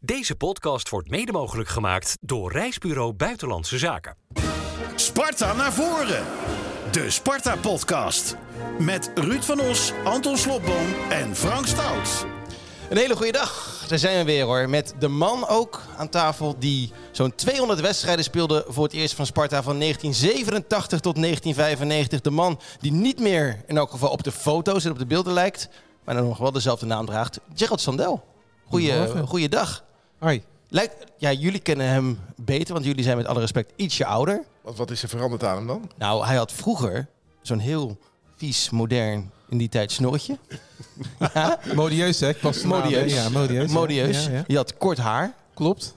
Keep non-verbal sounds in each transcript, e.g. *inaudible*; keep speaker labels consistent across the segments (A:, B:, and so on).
A: Deze podcast wordt mede mogelijk gemaakt door Reisbureau Buitenlandse Zaken.
B: Sparta naar voren. De Sparta-podcast. Met Ruud van Os, Anton Slobboom en Frank Stout.
C: Een hele goede dag. Daar zijn we weer hoor. Met de man ook aan tafel die zo'n 200 wedstrijden speelde voor het eerst van Sparta van 1987 tot 1995. De man die niet meer in elk geval op de foto's en op de beelden lijkt, maar dan nog wel dezelfde naam draagt. Gerald Sandel. Goeie,
D: Goedemorgen.
C: goeiedag.
D: Hoi.
C: Lijkt, ja, jullie kennen hem beter, want jullie zijn met alle respect ietsje ouder.
E: Wat, wat is er veranderd aan hem dan?
C: Nou, hij had vroeger zo'n heel vies, modern, in die tijd snorretje.
D: Modieus, hè? Ik pas de naam, hè?
C: Modieus.
D: Ja, modieus. ja.
C: Modieus.
D: Ja, ja.
C: Je had kort haar.
D: Klopt.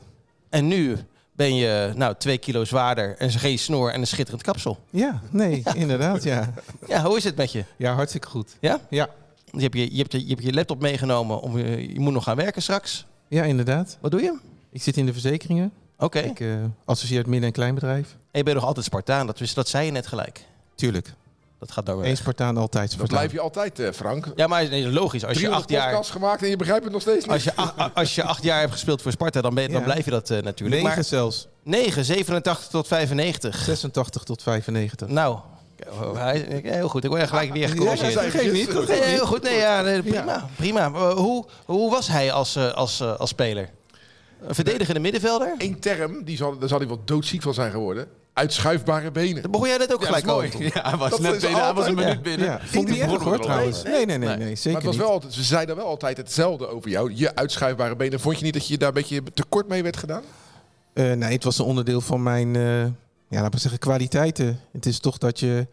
C: En nu ben je nou twee kilo zwaarder en geen snor en een schitterend kapsel.
D: Ja, nee, inderdaad, ja.
C: Ja, hoe is het met je?
D: Ja, hartstikke goed.
C: Ja?
D: Ja,
C: Je hebt je, je, hebt je, je, hebt je laptop meegenomen, om, eh, je moet nog gaan werken straks.
D: ja inderdaad.
C: Wat doe je?
D: Ik zit in de verzekeringen.
C: Oké.
D: Ik eh associeer het midden- en kleinbedrijf.
C: En je bent nog altijd Spartaan, dat, wist- dat zei je net gelijk.
D: Tuurlijk.
C: Dat gaat door.
D: Eén Spartaan, altijd
E: Dat
D: Spartaan.
E: blijf je altijd, eh, Frank.
C: Ja, maar nee, logisch. Als je,
E: 300
C: acht jaar,
E: podcasts gemaakt en je begrijpt het nog steeds niet.
C: als, je acht, als je acht jaar hebt gespeeld voor Sparta, dan, ben, je- dan
D: Ja.
C: blijf je dat eh, natuurlijk.
D: Negen
C: Maar
D: zelfs.
C: 9, 87 tot 95.
D: 86 tot 95.
C: Nou,
D: oh.
C: hij- heel goed. Ik word er gelijk weer
E: dat
C: gecorrigeerd.
E: zijn
D: geeft niet, dat
C: Nee, heel goed. Nee, ja, nee, prima.
D: Ja.
C: prima. Maar hoe, hoe was hij als, eh, als, eh, als speler? Een verdedigende middenvelder?
E: Eén term, die zal, daar zal hij wel doodziek van zijn geworden. Uitschuifbare benen.
C: Daar begon jij net ook
E: Ja, dat is
C: gelijk
E: mooi.
C: over.
F: Ja, hij was
E: Dat
F: net
E: is
F: binnen. Hij was een
E: altijd-
F: minuut binnen.
D: Ja, vond ik niet
E: die
D: erg
E: begon
D: hoor
E: er wel
D: trouwens.
E: mee.
D: Nee, nee, nee, nee, zeker
E: maar het was wel, altijd- ze zeiden wel altijd hetzelfde over jou. Je uitschuifbare benen. Vond je niet dat je daar een beetje tekort mee werd gedaan?
D: niet. Eh, nee, het was een onderdeel van mijn, eh, ja, laten we zeggen, kwaliteiten. Het is toch dat je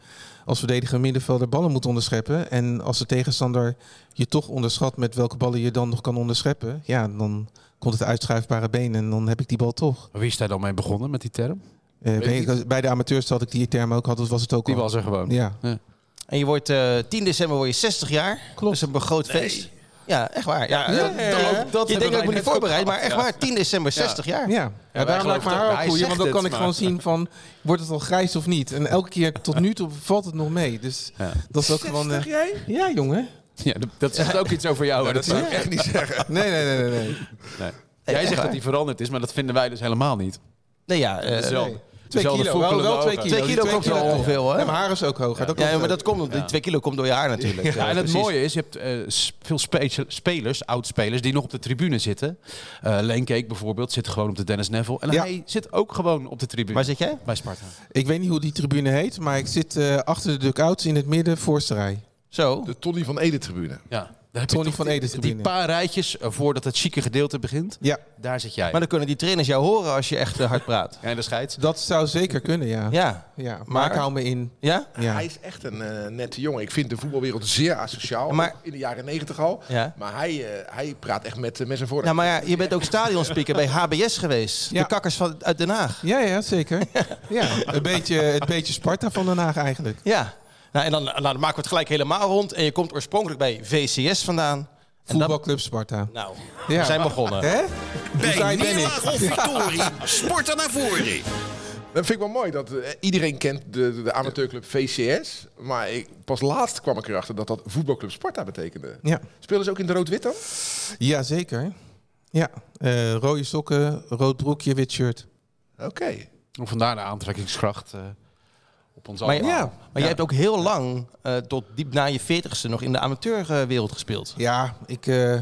D: als verdediger middenvelder ballen moet onderscheppen. En als de tegenstander je toch onderschat met welke ballen je dan nog kan onderscheppen. Ja, dan komt het uitschuifbare been en dan heb ik die bal toch.
F: Wie is daar dan mee begonnen met die term?
D: Eh,
E: Weet ik
D: bij, bij de amateurs had ik die term ook, had, was het ook
F: Die
D: al.
F: was er gewoon.
D: Ja,
C: En je wordt eh, 10 december word je 60 jaar. Dat is een begroot feest. Ja, echt waar. Ja, eh,
D: Ja,
C: dat-
D: ja,
C: dat-
D: ja.
C: dat- je denkt dat ik me niet voorbereid, maar echt waar. 10 december 60 jaar.
D: ja. ja daarom lijkt
F: geloven
D: mijn
F: het ook.
D: haar
F: Hij
D: ook groeien,
F: zegt
D: want dan kan
F: het,
D: ik gewoon zien van, wordt het al grijs of niet? En elke keer tot nu toe valt het nog mee, dus
F: Ja.
D: dat is ook gewoon... eh, ja, jongen.
F: Ja, d- dat zegt ook iets over jou. hè? dat
E: zou ik
F: is-
E: echt niet zeggen.
D: Nee, nee, nee, nee. nee.
F: Nee.
C: echt
F: Jij zegt
C: waar.
F: dat die veranderd is, maar dat vinden wij dus helemaal niet.
C: Nee, ja. eh,
F: Dezelfde-
D: Twee
F: dezelfde
D: kilo,
F: foekelende
D: wel, wel twee
F: ogen.
D: kilo.
C: Twee
D: Die
C: kilo komt wel
D: klopt.
C: ongeveer, hoor.
D: Ja, mijn haar is ook hoger. Dat klopt
C: ja, maar
D: wel.
C: dat komt, die 2 kilo komt door je haar natuurlijk.
F: Ja, en het
C: precies.
F: mooie is, je hebt eh, s- veel spe- spelers, oud-spelers, die nog op de tribune zitten. Eh Leenkeek bijvoorbeeld zit gewoon op de Dennis Neville. En
D: Ja.
F: hij zit ook gewoon op de tribune.
C: Waar zit jij?
F: Bij Sparta.
D: Ik weet niet hoe die tribune heet, maar ik zit eh, achter de dugouts in het midden, voorste rij.
C: Zo.
E: De Tony van Ede tribune.
F: Ja. Daar heb je
D: Tony
F: toch
D: van
F: die-
D: Ede tribune.
F: Die paar rijtjes eh, voordat het chique gedeelte begint,
D: Ja,
F: daar zit jij.
C: Maar dan kunnen die trainers jou horen als je echt eh, hard praat.
F: Ja, en de scheids.
D: dat zou zeker kunnen, ja. ja.
C: Ja.
D: maar,
C: Maar-
D: ik hou me in.
C: Ja?
D: Ja.
E: Hij is echt een eh, nette jongen. Ik vind de voetbalwereld zeer asociaal.
C: Maar-
E: in de jaren negentig al.
C: Ja.
E: Maar hij, eh, hij praat echt met, eh, met zijn voornaam.
C: Nou, maar ja, je bent ook stadionspeaker bij HBS geweest.
D: Ja.
C: De kakkers van, uit Den Haag.
D: Ja, ja, zeker. Ja, een beetje, het beetje Sparta van Den Haag eigenlijk.
C: Ja. Nou, en dan, nou, dan maken we het gelijk helemaal rond. En je komt oorspronkelijk bij VCS vandaan. En dan,
D: Voetbalclub Sparta.
C: nou,
D: Ja.
C: we zijn begonnen.
D: Hè?
B: Bij
D: Partij ben ik.
B: neerlaag of victorie, Sparta naar voren.
E: Dat vind ik wel mooi, dat eh, iedereen kent de, de amateurclub VCS. Maar ik, pas laatst kwam ik erachter dat dat voetbalclub Sparta betekende.
D: Ja.
E: Speelden ze ook in de rood-wit dan?
D: ja, zeker. Ja, eh, rode sokken, rood broekje, wit shirt.
E: Oké.
F: Om Vandaar de aantrekkingskracht eh, op ons
C: Maar,
F: allemaal.
D: ja.
C: maar jij hebt ook heel lang, eh, tot diep na je veertigste, nog in de amateurwereld gespeeld.
D: Ja, ik, eh,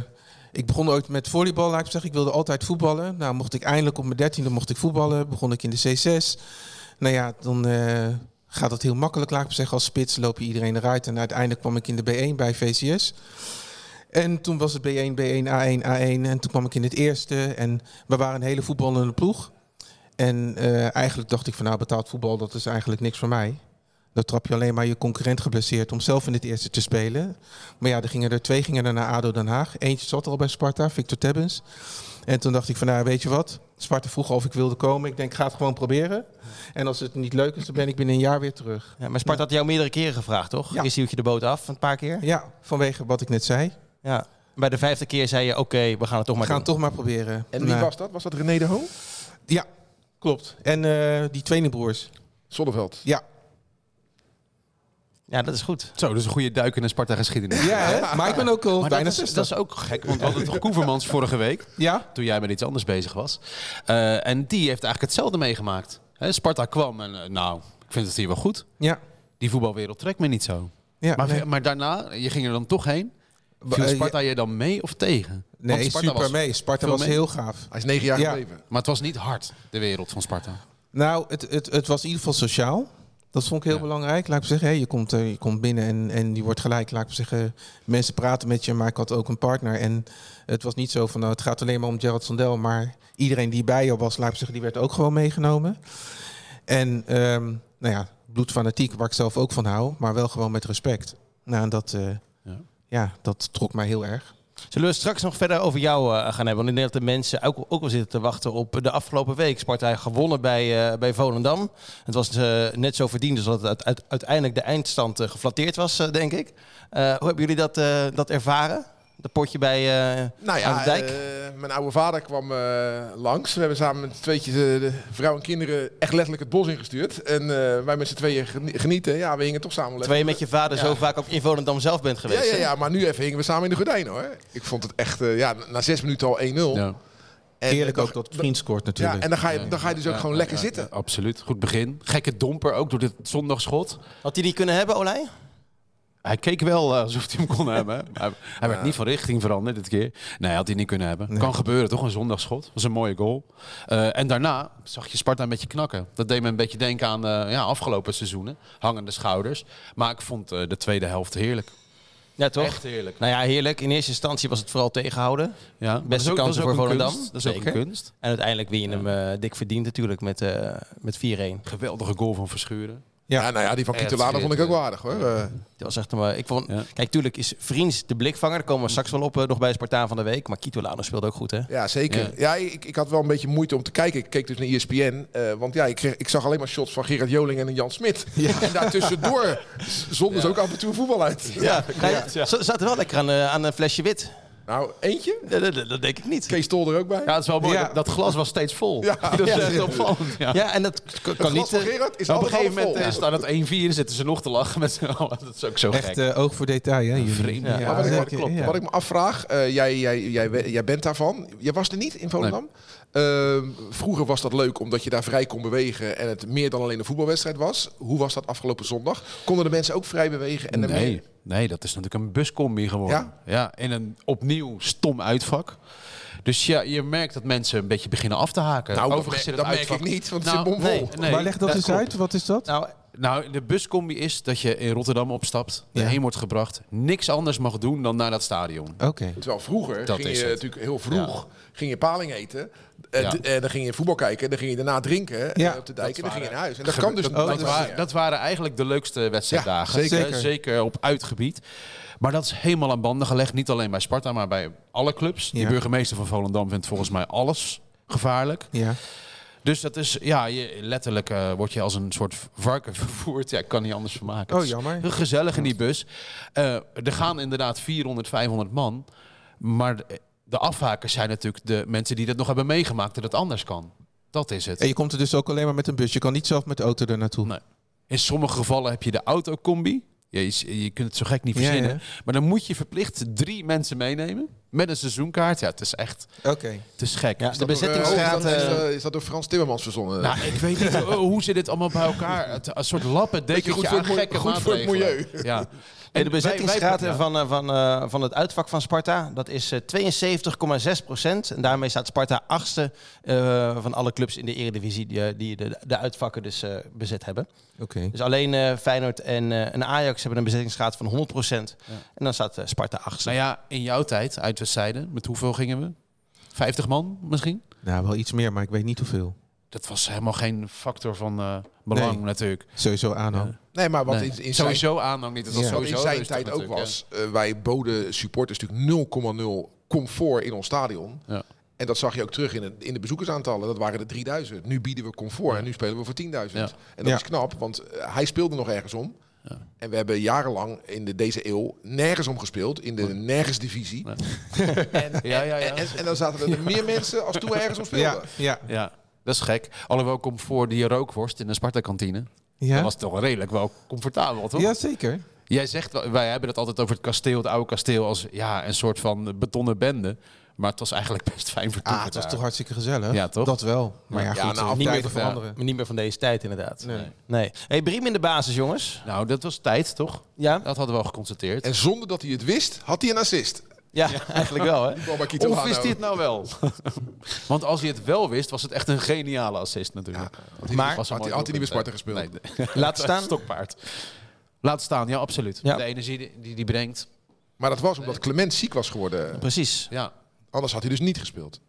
D: ik begon ooit met volleybal, laat ik zeggen. Ik wilde altijd voetballen. Nou, mocht ik eindelijk op mijn dertiende mocht ik voetballen. Begon ik in de C6. Nou ja, dan eh, gaat dat heel makkelijk, laat ik zeggen. Als spits loop je iedereen eruit. En uiteindelijk kwam ik in de B1 bij VCS. En toen was het B1, B1, A1, A1. En toen kwam ik in het eerste. En we waren een hele voetballende ploeg. En eh, eigenlijk dacht ik van nou, betaald voetbal, dat is eigenlijk niks voor mij. Dan trap je alleen maar je concurrent geblesseerd om zelf in het eerste te spelen. Maar ja, er gingen er twee gingen er naar ADO Den Haag. Eentje zat al bij Sparta, Victor Tebbens. En toen dacht ik van, nou weet je wat? Sparta vroeg of ik wilde komen. Ik denk, ik ga het gewoon proberen. En als het niet leuk is, dan ben ik binnen een jaar weer terug.
C: Ja, maar Sparta had jou meerdere keren gevraagd, toch?
D: Ja.
C: Eerst hield je de boot af, een paar keer.
D: Ja, vanwege wat ik net zei.
C: Ja. Bij de vijfde keer zei je, oké, we gaan het toch
D: We
C: maar
D: gaan het
C: doen.
D: toch maar proberen.
E: En wie
D: Nou,
E: was dat? Was dat René de Hoon?
D: Ja, klopt. En eh, die tweelingbroers.
E: Zonneveld.
D: Ja.
C: Ja, dat is goed.
F: Zo, dat is een goede duik in de Sparta-geschiedenis.
D: Ja, hè? maar ik ben ook al
F: Maar
D: bijna
F: dat is,
D: 60.
F: dat is ook gek, want we hadden toch Koevermans vorige week,
D: Ja?
F: toen jij met iets anders bezig was. Eh, en die heeft eigenlijk hetzelfde meegemaakt. Hè, Sparta kwam en eh, nou, ik vind het hier wel goed.
D: Ja.
F: Die voetbalwereld trekt me niet zo.
D: ja
F: maar,
D: nee.
F: maar daarna, Nou, je ging er dan toch heen. Viel
D: Eh, ja.
F: Sparta je dan mee of tegen? Want
D: Nee,
F: Sparta
D: super
F: was-
D: mee. Sparta
F: veel
D: was
F: mee.
D: heel gaaf.
E: Hij is negen jaar
D: Ja.
E: gebleven.
F: Maar het was niet hard, de wereld van Sparta.
D: Nou, het, het, het was in ieder geval sociaal. Dat vond ik heel
F: Ja.
D: belangrijk. Laat ik zeggen, hè, je, komt, eh, je komt binnen en, en je wordt gelijk. Laat ik zeggen, mensen praten met je, maar ik had ook een partner. En het was niet zo van, nou, het gaat alleen maar om Gerald Sandel. Maar iedereen die bij jou was, laat ik zeggen, die werd ook gewoon meegenomen. En, ehm, nou ja, bloedfanatiek, waar ik zelf ook van hou. Maar wel gewoon met respect. Nou, en dat, eh,
F: Ja.
D: ja. dat trok mij heel erg.
C: Zullen we straks nog verder over jou eh, gaan hebben? Want ik denk dat de mensen ook, ook wel zitten te wachten op de afgelopen week. Sparta heeft gewonnen bij, eh, bij Volendam. Het was eh, net zo verdiend als dat het uit- uit- uiteindelijk de eindstand eh, geflatteerd was, eh, denk ik. Eh, hoe hebben jullie dat, eh, dat ervaren? Dat potje bij eh,
E: Nou
C: aan de
E: ja,
C: dijk?
E: eh, mijn oude vader kwam eh, langs. We hebben samen met z'n tweetjes eh, de vrouw en kinderen echt letterlijk het bos ingestuurd. En eh, wij met z'n tweeën geni- genieten. Ja, we hingen toch samen lekker.
C: Terwijl je met je vader zo vaak ook in Volendam zelf bent
E: Ja,
C: geweest.
E: ja,
C: hè?
E: ja, maar nu even hingen we samen in de gordijn hoor. Ik vond het echt, eh, ja, na zes minuten al 1-0.
F: Ja,
E: En,
D: Eerlijk
E: eh,
D: ook dat vriend scoort natuurlijk.
E: Ja, en dan ga je, dan ga je dus ook gewoon lekker zitten.
F: absoluut. Goed begin. Gekke domper ook door dit zondagschot.
C: Had hij die kunnen hebben, Olij?
F: Hij keek wel eh, alsof hij hem kon hebben. hè. Hij, hij werd niet van richting veranderd dit keer. Nee, hij had hij niet kunnen hebben. Kan gebeuren, toch? Een zondagschot. Was een mooie goal. Eh, en daarna zag je Sparta een beetje knakken. Dat deed me een beetje denken aan eh, ja, afgelopen seizoenen. Hangende schouders. Maar ik vond eh, de tweede helft heerlijk.
C: Ja, toch?
F: Echt heerlijk.
C: Nou ja, heerlijk. In eerste instantie was het vooral tegenhouden.
F: Ja, maar dat is
C: Beste
F: ook- dat is
C: kansen
F: ook
C: voor
F: een
C: Volendam.
F: kunst. Dat is ook een
C: Zeker.
F: kunst.
C: En uiteindelijk win je hem eh, dik verdiend natuurlijk met, eh, met 4-1.
F: Geweldige goal van Verschuren.
E: Ja, nou ja, die van
F: Echt
E: Kitolano vond ik ook waardig hoor. Eh,
C: Dat was echt een, eh, ik vond,
F: Ja.
C: Kijk, tuurlijk is Vriends de blikvanger. Daar komen we straks wel op eh, nog bij Spartaan van de Week. Maar Kito Lano speelde ook goed, hè?
E: Ja, zeker. Ja, ik, ik had wel een beetje moeite om te kijken. Ik keek dus naar ESPN. eh, want ja, ik, kreeg, ik zag alleen maar shots van Gerard Joling en een Jan Smit. *laughs* En daartussendoor zonden ze ook af en toe voetbal uit.
C: Ja, Ze zaten wel lekker aan, eh, aan een flesje wit.
E: Nou, eentje.
C: Dat, dat- dat denk ik niet.
E: Kees Tol er ook bij.
F: Ja, dat is wel mooi.
D: Ja.
F: Dat, dat glas was steeds vol.
E: Ja.
F: *laughs* Dat is echt opvallend. Ja.
C: Ja, en dat k-
E: Het
C: kan
E: glas
C: niet...
E: van
C: eh,
E: Gerard is
F: Op een
E: altijd
F: gegeven moment eh,
E: half vol.
F: staat het 1-4 en zitten ze nog te lachen met z'n allen. *laughs* Dat is ook zo gek.
D: Echt eh, oog voor detail, hè? jullie?
F: Vreemd. Ja,
E: Maar wat, ik,
D: zeker,
E: wat ik-
D: ja.
E: wat ik me afvraag, eh, jij, jij, jij, we- jij bent daarvan. Jij was er niet in Volendam. Ehm, vroeger was dat leuk omdat je daar vrij kon bewegen en het meer dan alleen een voetbalwedstrijd was. Hoe was dat afgelopen zondag? Konden de mensen ook vrij bewegen? En er meer-
F: nee, nee, dat is natuurlijk een buscombi geworden. Ja? in een opnieuw stom uitvak. Dus ja, je merkt dat mensen een beetje beginnen af te haken.
E: Nou, dat
F: Overigens
E: me-
F: zit het
E: dat merk
F: uitvak- Nou,
E: ik niet, want het zit bomvol.
F: nee, nee,
D: maar leg dat, eens
F: klopt.
D: uit, wat is dat?
C: nou,
F: Nou, de buscombi is dat je in Rotterdam opstapt,
D: Ja.
F: erheen wordt gebracht, niks anders mag doen dan naar dat stadion.
D: Oké.
E: Terwijl vroeger
F: Dat
E: ging
F: is
E: je
F: het.
E: natuurlijk heel vroeg ging je paling eten. eh,
F: Ja.
E: d- En dan ging je voetbal kijken. En dan ging je daarna drinken eh,
D: Ja.
E: op de dijk. En dan ging je naar huis. En dat
F: Gebe-
E: kan
D: Oh,
E: dus
F: dat,
E: blijkbaar
F: dat,
E: niet
F: wa-
E: meer.
F: dat waren eigenlijk de leukste wedstrijddagen.
E: Ja,
D: zeker.
F: Eh, zeker op uitgebied. Maar dat is helemaal aan banden gelegd. Niet alleen bij Sparta, maar bij alle clubs. De
D: Ja.
F: burgemeester van Volendam vindt volgens mij alles gevaarlijk.
D: Ja.
F: Dus dat is, ja, je, letterlijk eh, word je als een soort varken *laughs* vervoerd. Ja, ik kan niet anders van maken.
D: Oh,
F: Het is
D: jammer.
F: heel Gezellig in die bus. Eh, er gaan inderdaad 400, 500 man. Maar de, de afhakers zijn natuurlijk de mensen die dat nog hebben meegemaakt dat het anders kan. Dat is het.
D: En je komt er dus ook alleen maar met een bus. Je kan niet zelf met de auto er naartoe.
F: Nee. In sommige gevallen heb je de autocombi. Ja, je, s- je kunt het zo gek niet
D: Ja,
F: verzinnen.
D: ja.
F: Maar dan moet je verplicht drie mensen meenemen. Met een seizoenkaart. Ja, het is echt
D: Oké.
F: het is gek.
C: ja,
F: Is
C: de
F: dat-
E: Oh,
C: bezettingsgraad...
E: dan is,
C: eh,
E: dat, is dat door Frans Timmermans verzonnen?
F: nou, ik weet niet eh, hoe ze dit allemaal bij elkaar... Het, een soort lappen
E: Beetje goed
F: dekentje
E: voor
F: aan
E: het milieu-
F: gekke
E: goed voor het
F: maatregelen. Ja.
C: En
F: En
C: de
F: wij- wij-
C: bezettingsgraad
F: ja.
C: van, eh, van, eh, van het uitvak van Sparta, dat is eh, 72,6 procent. En daarmee staat Sparta achtste eh, van alle clubs in de eredivisie die, eh, die de, de uitvakken dus eh, bezet hebben.
D: Oké.
C: Dus alleen eh, Feyenoord en, eh, en Ajax hebben een bezettingsgraad van 100 procent. En dan staat eh, Sparta achtste.
F: Nou ja, in jouw tijd, uitwedstrijden, met hoeveel gingen we? 50 man misschien?
D: Nou, wel iets meer, maar ik weet niet hoeveel.
F: Dat was helemaal geen factor van eh, belang
D: Nee.
F: natuurlijk.
D: Sowieso aanhang.
E: nee, maar wat
F: Nee.
E: in, in zijn,
F: sowieso aanhang niet. Dat was
D: Ja.
E: wat in
F: sowieso
E: zijn
F: rustig
E: tijd ook
F: natuurlijk, ja.
E: was. eh, wij boden supporters natuurlijk 0,0 comfort in ons stadion.
F: Ja.
E: En dat zag je ook terug in, het, in de bezoekersaantallen. Dat waren de 3000. Nu bieden we comfort en nu spelen we voor 10.000.
F: Ja.
E: En dat
D: Ja.
E: is knap, want eh, hij speelde nog ergens om. En we hebben jarenlang in de, deze eeuw nergens om gespeeld. In de nergens divisie.
F: Ja, ja, ja.
E: En, en, en dan zaten er meer mensen als toen we ergens om speelden.
D: Ja, ja.
F: Ja, dat is gek. Alhoewel comfort die rookworst in de Sparta-kantine.
D: Ja?
F: Dat was toch redelijk wel comfortabel, toch?
D: ja, zeker.
F: Jij zegt, wel- wij hebben het altijd over het kasteel, het oude kasteel, als ja, een soort van betonnen bende. Maar het was eigenlijk best fijn vertoeven
D: Ah, het was
F: daar.
D: toch hartstikke gezellig.
F: Ja, toch?
D: Dat wel. Maar ja,
E: Ja,
D: goed,
E: nou,
C: Niet
D: eh,
C: meer,
D: tijden
C: van,
D: veranderen.
C: niet meer van deze tijd, inderdaad.
D: Nee.
C: nee. Hey, Briem in de basis, jongens.
F: Nou, dat was tijd, toch?
C: Ja,
F: Dat hadden we al geconstateerd.
E: En zonder dat hij het wist, had hij een assist.
C: ja, *laughs* eigenlijk wel,
D: *laughs*
C: hè?
E: Kwam bij Kito
F: Of
E: Hano.
F: wist hij het nou wel? Want als hij het wel wist, was het echt een geniale assist natuurlijk.
C: Maar-
F: Was een
E: had
F: mooi
E: hij- had hij niet
F: doelpunt,
E: bij Sparta
F: hè?
E: gespeeld?
F: *laughs* Nee.
C: Laat staan.
F: Stokpaard. Laat staan, ja, absoluut.
C: Ja.
F: De energie die- die die brengt.
E: Maar dat was omdat Clement ziek was geworden.
C: Precies.
F: Ja.
E: Anders had hij dus niet gespeeld.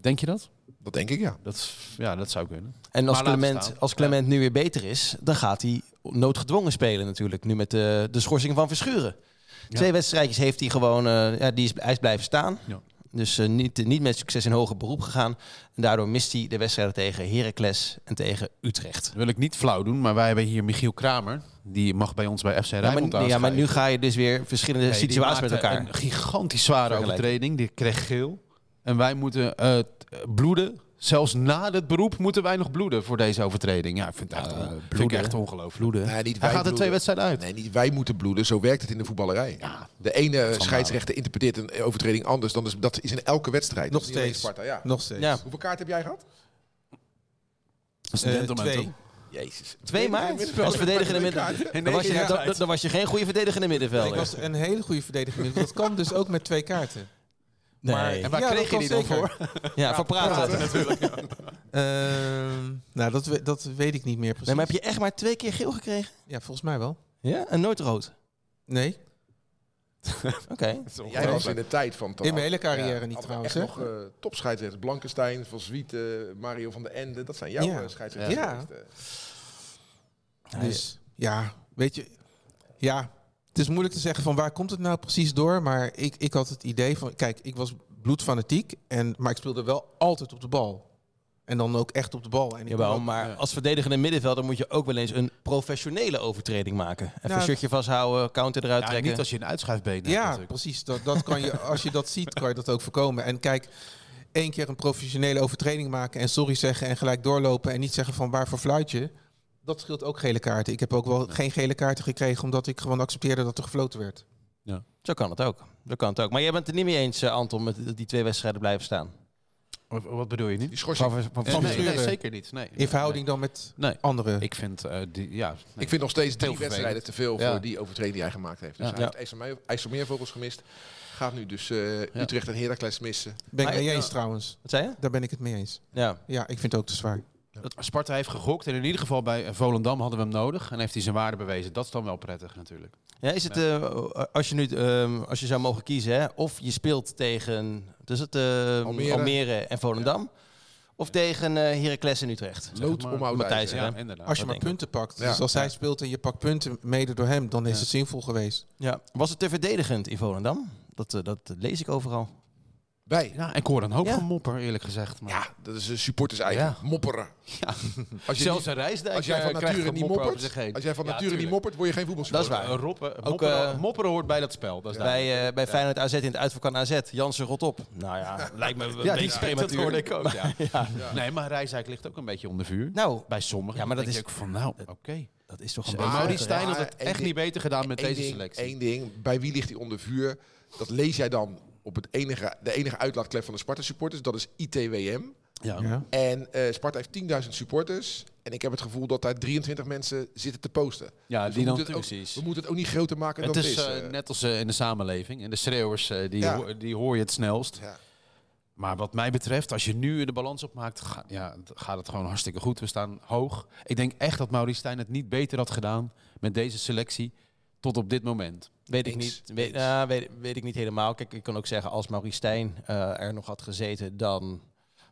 F: Denk je dat?
E: Dat denk ik, ja.
F: dat is- ja, dat zou kunnen.
C: En als
F: Maar laten
C: Clement,
F: staan.
C: als Clement nu weer beter is, dan gaat hij noodgedwongen spelen natuurlijk. Nu met eh, de, de schorsing van Verschuren. Twee wedstrijdjes heeft hij gewoon, eh, ja, die is, hij is blijven staan.
F: Ja.
C: Dus eh, niet, niet met succes in hoger beroep gegaan. En daardoor mist hij de wedstrijden tegen Heracles en tegen Utrecht.
F: Dat wil ik niet flauw doen, maar wij hebben hier Michiel Kramer. Die mag bij ons bij FC
C: Ja,
F: Rijnmond
C: maar, ja, maar nu ga je dus weer verschillende
F: Nee, die
C: situaties met
F: maakte
C: elkaar.
F: Een gigantisch zware
C: Vergelijken.
F: overtreding. Die kreeg geel. En wij moeten eh, t- eh, bloeden. Zelfs na het beroep moeten wij nog bloeden voor deze overtreding. Ja, ik vind het echt, on- vind ik echt ongelooflijk.
E: Nee, niet
F: Hij
E: wij
F: gaat er twee
E: bloeden.
F: wedstrijden uit.
E: Nee, niet wij moeten bloeden. Zo werkt het in de voetballerij. de ene scheidsrechter interpreteert een overtreding anders. Dan is, dat is in elke wedstrijd.
D: Nog
E: Niet alleen
D: steeds.
E: Sparta, ja.
D: Nog steeds.
C: Ja.
E: Hoeveel kaart heb jij gehad?
F: Dat is een
D: Eh,
F: gentleman,
D: twee.
F: toch?
E: Jezus.
C: Twee maart als verdedigende middenvelder. Dan was je, dan, dan- dan was je geen goede verdedigende
D: Ik
C: middenvelder.
D: was een hele goede verdediger. want Dat kan dus ook met twee kaarten.
C: Nee.
F: En waar
D: Ja, dat
F: kreeg je
D: kan
F: die dan
D: zeker.
F: voor?
C: Ja, van praten.
D: Ehm, nou, dat, we- dat weet ik niet meer precies.
C: Nee, maar heb je echt maar twee keer geel gekregen?
D: Ja, volgens mij wel.
C: Ja, en nooit rood.
D: Nee,
C: Oké.
E: Jij was in de tijd van...
D: in mijn hele carrière
E: Ja,
D: niet
E: hadden we
D: trouwens.
E: echt
D: hè?
E: nog eh, topscheidsrechters. Blankenstein, Van Zwiet, eh, Mario van der Ende. Dat zijn jouw
D: Ja.
E: eh, scheidsrechters.
D: Ja.
E: geweest, eh.
D: Dus ja, weet je, ja, het is moeilijk te zeggen van waar komt het nou precies door. Maar ik, ik had het idee van, kijk, ik was bloedfanatiek, en, maar ik speelde wel altijd op de bal. En dan ook echt op de bal. En ik
C: Jawel,
D: ben ook-
C: maar als verdedigende middenvelder moet je ook wel eens een professionele overtreding maken. Even
D: Nou,
C: een shirtje vasthouden, counter eruit
F: Ja,
C: trekken.
F: niet als je een uitschuifbeen hebt.
D: ja,
F: natuurlijk.
D: precies. Dat, dat kan je, als je dat ziet, kan je dat ook voorkomen. En kijk, één keer een professionele overtreding maken en sorry zeggen en gelijk doorlopen en niet zeggen van waarvoor fluit je. Dat scheelt ook gele kaarten. Ik heb ook wel geen gele kaarten gekregen omdat ik gewoon accepteerde dat er gefloten werd.
C: Zo kan het ook. Zo kan het ook. Maar jij bent het er niet mee eens, eh, Anton, met dat die twee wedstrijden blijven staan.
F: Wat- Wat bedoel je nu?
E: Die schorsing.
F: Eh, nee,
D: Verschuren.
F: nee, zeker niet. Nee.
D: In verhouding dan met
F: Nee.
D: anderen.
F: Ik vind eh, die, ja. nee.
E: Ik vind nog steeds drie
F: Heel vervelend.
E: wedstrijden te veel
F: Ja.
E: voor die overtreding die hij gemaakt heeft. Dus
F: Ja.
E: hij heeft IJsselmeer- IJsselmeervogels gemist. Gaat nu dus eh, Utrecht en Heracles missen.
D: Ben ik
C: Maar-
D: mee eens trouwens.
C: Wat zei je?
D: Daar ben ik het mee eens.
C: Ja.
D: Ja, ik vind het ook te zwaar.
F: Dat Sparta heeft gegokt en in ieder geval bij eh, Volendam hadden we hem nodig. En heeft hij zijn waarde bewezen. Dat is dan wel prettig natuurlijk.
C: ja is het, eh, als, je nu, ehm, als je zou mogen kiezen, hè, of je speelt tegen wat is het, ehm, Almere.
E: Almere.
C: en Volendam, of tegen eh Heracles en Utrecht.
F: Zeg
E: Lood
F: maar.
E: om oud
C: Matthijs,
E: ijzer.
C: Ja,
F: Ja, inderdaad.
D: Als je
C: dat
D: maar
C: denk ik.
D: punten pakt.
E: Ja.
D: Dus als hij speelt en je pakt punten mede door hem, dan is het zinvol geweest.
C: Ja. Was het te verdedigend in Volendam? Dat, eh, dat lees ik overal.
E: Wij.
F: Ja, ik hoor een hoop
C: Ja.
F: gemopper eerlijk gezegd. Maar...
E: Ja, dat is een supporters eigen.
F: Ja.
E: Mopperen.
F: *laughs* Ja.
E: Als je
F: Zelfs
E: niet-
F: een reisdijk eh,
E: als jij van nature niet moppert, als jij van nature niet moppert, word je geen
C: Dat is
E: voetbalspeler.
C: waar.
F: Een roppen,
C: Ook,
F: mopperen,
C: eh,
F: mopperen hoort bij dat spel. Dat is
C: Bij, eh, bij Feyenoord AZ in het uitverkan AZ. Jansen, rot op. Nou ja, lijkt me een
F: ja,
C: beetje
F: die dat
C: prematuur.
F: hoorde ik
C: *laughs*
F: ook. Ja. *laughs* Nee, maar Rijsdijk ligt ook een beetje onder vuur.
C: Nou,
F: bij sommigen.
C: Ja, maar
F: Dan
C: dat
F: denk
C: is-
F: ik van, nou, oké.
C: dat oh. is toch een
F: Maar
C: beetje-
F: Mauri Stijn had
E: maar
F: het
E: één
F: echt
E: ding-
F: niet beter gedaan met
E: Eén
F: deze
E: ding,
F: selectie.
E: Eén ding, bij wie ligt hij onder vuur? Dat lees jij dan op het enige, de enige uitlaatklep van de Sparta supporters. Dat is ITWM.
F: Ja.
D: Ja.
E: En eh, Sparta heeft 10.000 supporters. En ik heb het gevoel dat daar 23 mensen zitten te posten.
F: Ja,
E: Dus
F: die
E: we
F: dan-
E: moeten het ook-
F: precies.
E: We moeten het ook niet groter maken
F: Het
E: dan
F: is
E: het is.
F: eh,
E: eh.
F: net als eh, in de samenleving. En de schreeuwers, eh, die,
E: Ja.
F: ho- die hoor je het snelst.
E: Ja.
F: Maar wat mij betreft, als je nu de balans opmaakt, ga- ja, d- gaat het gewoon hartstikke goed. We staan hoog. Ik denk echt dat Mauri Stijn het niet beter had gedaan met deze selectie tot op dit moment.
C: Weet ik
E: Eens.
C: niet. Weet, ah, weet, weet ik niet helemaal. Kijk, ik kan ook zeggen, als Maurice Stijn eh, er nog had gezeten, dan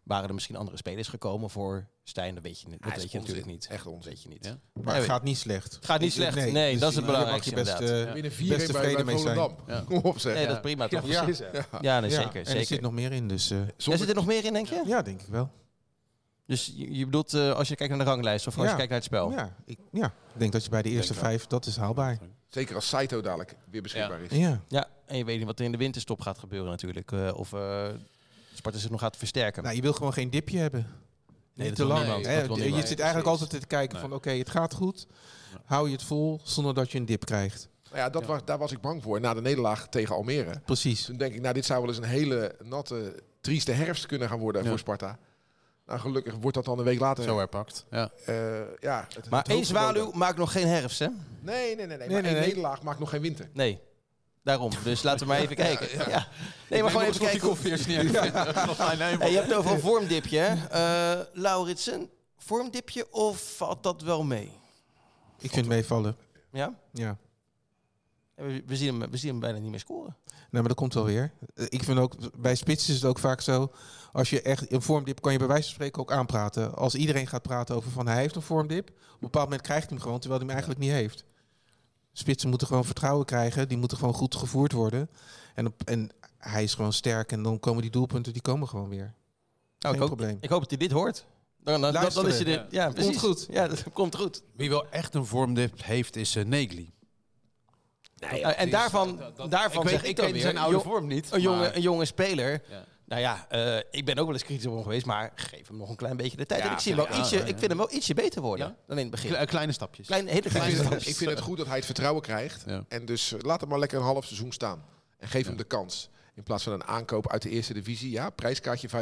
C: waren er misschien andere spelers gekomen voor Stijn. Dat weet je, niet. dat
E: is
C: weet je natuurlijk
E: onzin.
C: niet.
E: Echt onzin.
C: Dat weet je niet.
F: Ja.
D: Maar
C: Nee,
D: het gaat niet slecht.
C: Het gaat niet
D: Dus,
C: slecht. Nee, dat is het belangrijkste
D: eh, Je mag je best,
C: inderdaad.
D: eh,
E: Binnen vier
D: best
E: weken bij,
D: tevreden
E: bij
D: mee zijn.
E: Volendam.
F: Ja.
E: *laughs* Kom op zeg.
C: Nee, dat is prima toch?
F: Ja.
C: Ja, nee,
D: Ja,
C: zeker.
D: En er
C: zeker.
D: zit nog meer in, dus... eh,
C: Er zit er nog meer in, denk je?
D: ja, denk ik wel.
C: Dus je, je bedoelt, eh, als je kijkt naar de ranglijst of als
D: Ja.
C: je kijkt naar het spel.
D: Ja, ik ja, ik denk dat je bij de eerste
F: denk wel.
D: vijf, dat is haalbaar.
E: Zeker als Saito dadelijk weer beschikbaar is.
D: Ja.
C: Ja, en je weet niet wat er in de winterstop gaat gebeuren natuurlijk. eh, of eh Sparta zich nog gaat versterken.
D: Nou, je wil gewoon geen dipje hebben.
F: Nee,
D: niet
F: dat
D: te
F: wil
D: lang.
F: niemand.
D: hè.
F: Dat wil
D: je
F: niemand.
D: zit eigenlijk
F: Precies.
D: altijd te kijken
F: Nee.
D: van oké, het gaat goed. Hou je het vol zonder dat je een dip krijgt.
E: Nou ja, dat Was, daar was ik bang voor na de nederlaag tegen Almere.
D: Precies.
E: Toen denk ik, nou, dit zou wel eens een hele natte, trieste herfst kunnen gaan worden
F: Ja.
E: voor Sparta. Nou, gelukkig wordt dat dan een week later.
F: Zo herpakt. Ja.
E: eh, ja, het-
C: Maar
E: het
C: één
E: hoofdvermogen.
C: zwaluw maakt nog geen herfst, hè?
E: Nee, nee, nee. nee,
D: nee,
E: maar één
D: nee.
E: nederlaag maakt nog geen winter.
C: Nee. Daarom. Dus laten we maar even kijken. Ja. Nee, maar gewoon even kijken. hoe-
F: eerst niet ja.
C: Hey, je hebt het over een vormdipje, hè? Eh Lauritsen, vormdipje of valt dat wel mee?
D: Ik vind het meevallen.
C: Ja?
D: Ja.
C: We, we zien hem, we zien hem bijna niet meer scoren.
D: Nee, maar dat komt wel weer. Eh, Ik vind ook, bij spits is het ook vaak zo. Als je echt een vormdip, kan je bij wijze van spreken ook aanpraten. Als iedereen gaat praten over van hij heeft een vormdip. Op een bepaald moment krijgt hij hem gewoon, terwijl hij hem eigenlijk niet heeft. Spitsen moeten gewoon vertrouwen krijgen. Die moeten gewoon goed gevoerd worden. En, op, en hij is gewoon sterk. En dan komen die doelpunten, die komen gewoon weer. Geen
C: ik hoop,
D: probleem.
C: Ik hoop Nou, dat hij dit hoort. Dan, dan, dan, dan is hij
D: Luisteren.
C: er. Ja, precies.
D: goed.
C: Ja, *laughs* dat komt goed.
F: Wie wel echt een vormdip heeft, is eh, Negli.
C: Eh, en daarvan, daarvan zeg ik, dan weer... jo-
F: vorm niet.
C: een, jonge, een jonge speler...
F: Ja.
C: Nou ja, eh, ik ben ook wel eens kritisch op hem geweest, maar geef hem nog een klein beetje de tijd.
F: Ja,
C: en ik, zie hem wel
F: ja,
C: ietsje,
F: ja, ja.
C: ik vind hem wel ietsje beter worden
F: Ja?
C: dan in het begin.
F: Kle- kleine stapjes.
C: Klein, hele
E: Ik
C: kleine
E: vind, het,
C: stapjes.
E: ik vind het goed dat hij het vertrouwen krijgt.
F: Ja.
E: En dus eh, laat hem maar lekker een half seizoen staan. En geef hem de kans. In plaats van een aankoop uit de eerste divisie. Ja, prijskaartje 500.000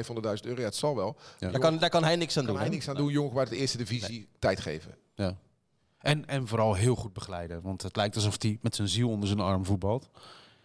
E: euro. Ja, het zal wel.
C: Daar kan, daar kan hij niks aan
E: Kan
C: doen.
E: hij
C: hè?
E: niks aan doen, jongen, maar de eerste divisie tijd geven.
F: Ja. En, en vooral heel goed begeleiden. Want het lijkt alsof hij met zijn ziel onder zijn arm voetbalt.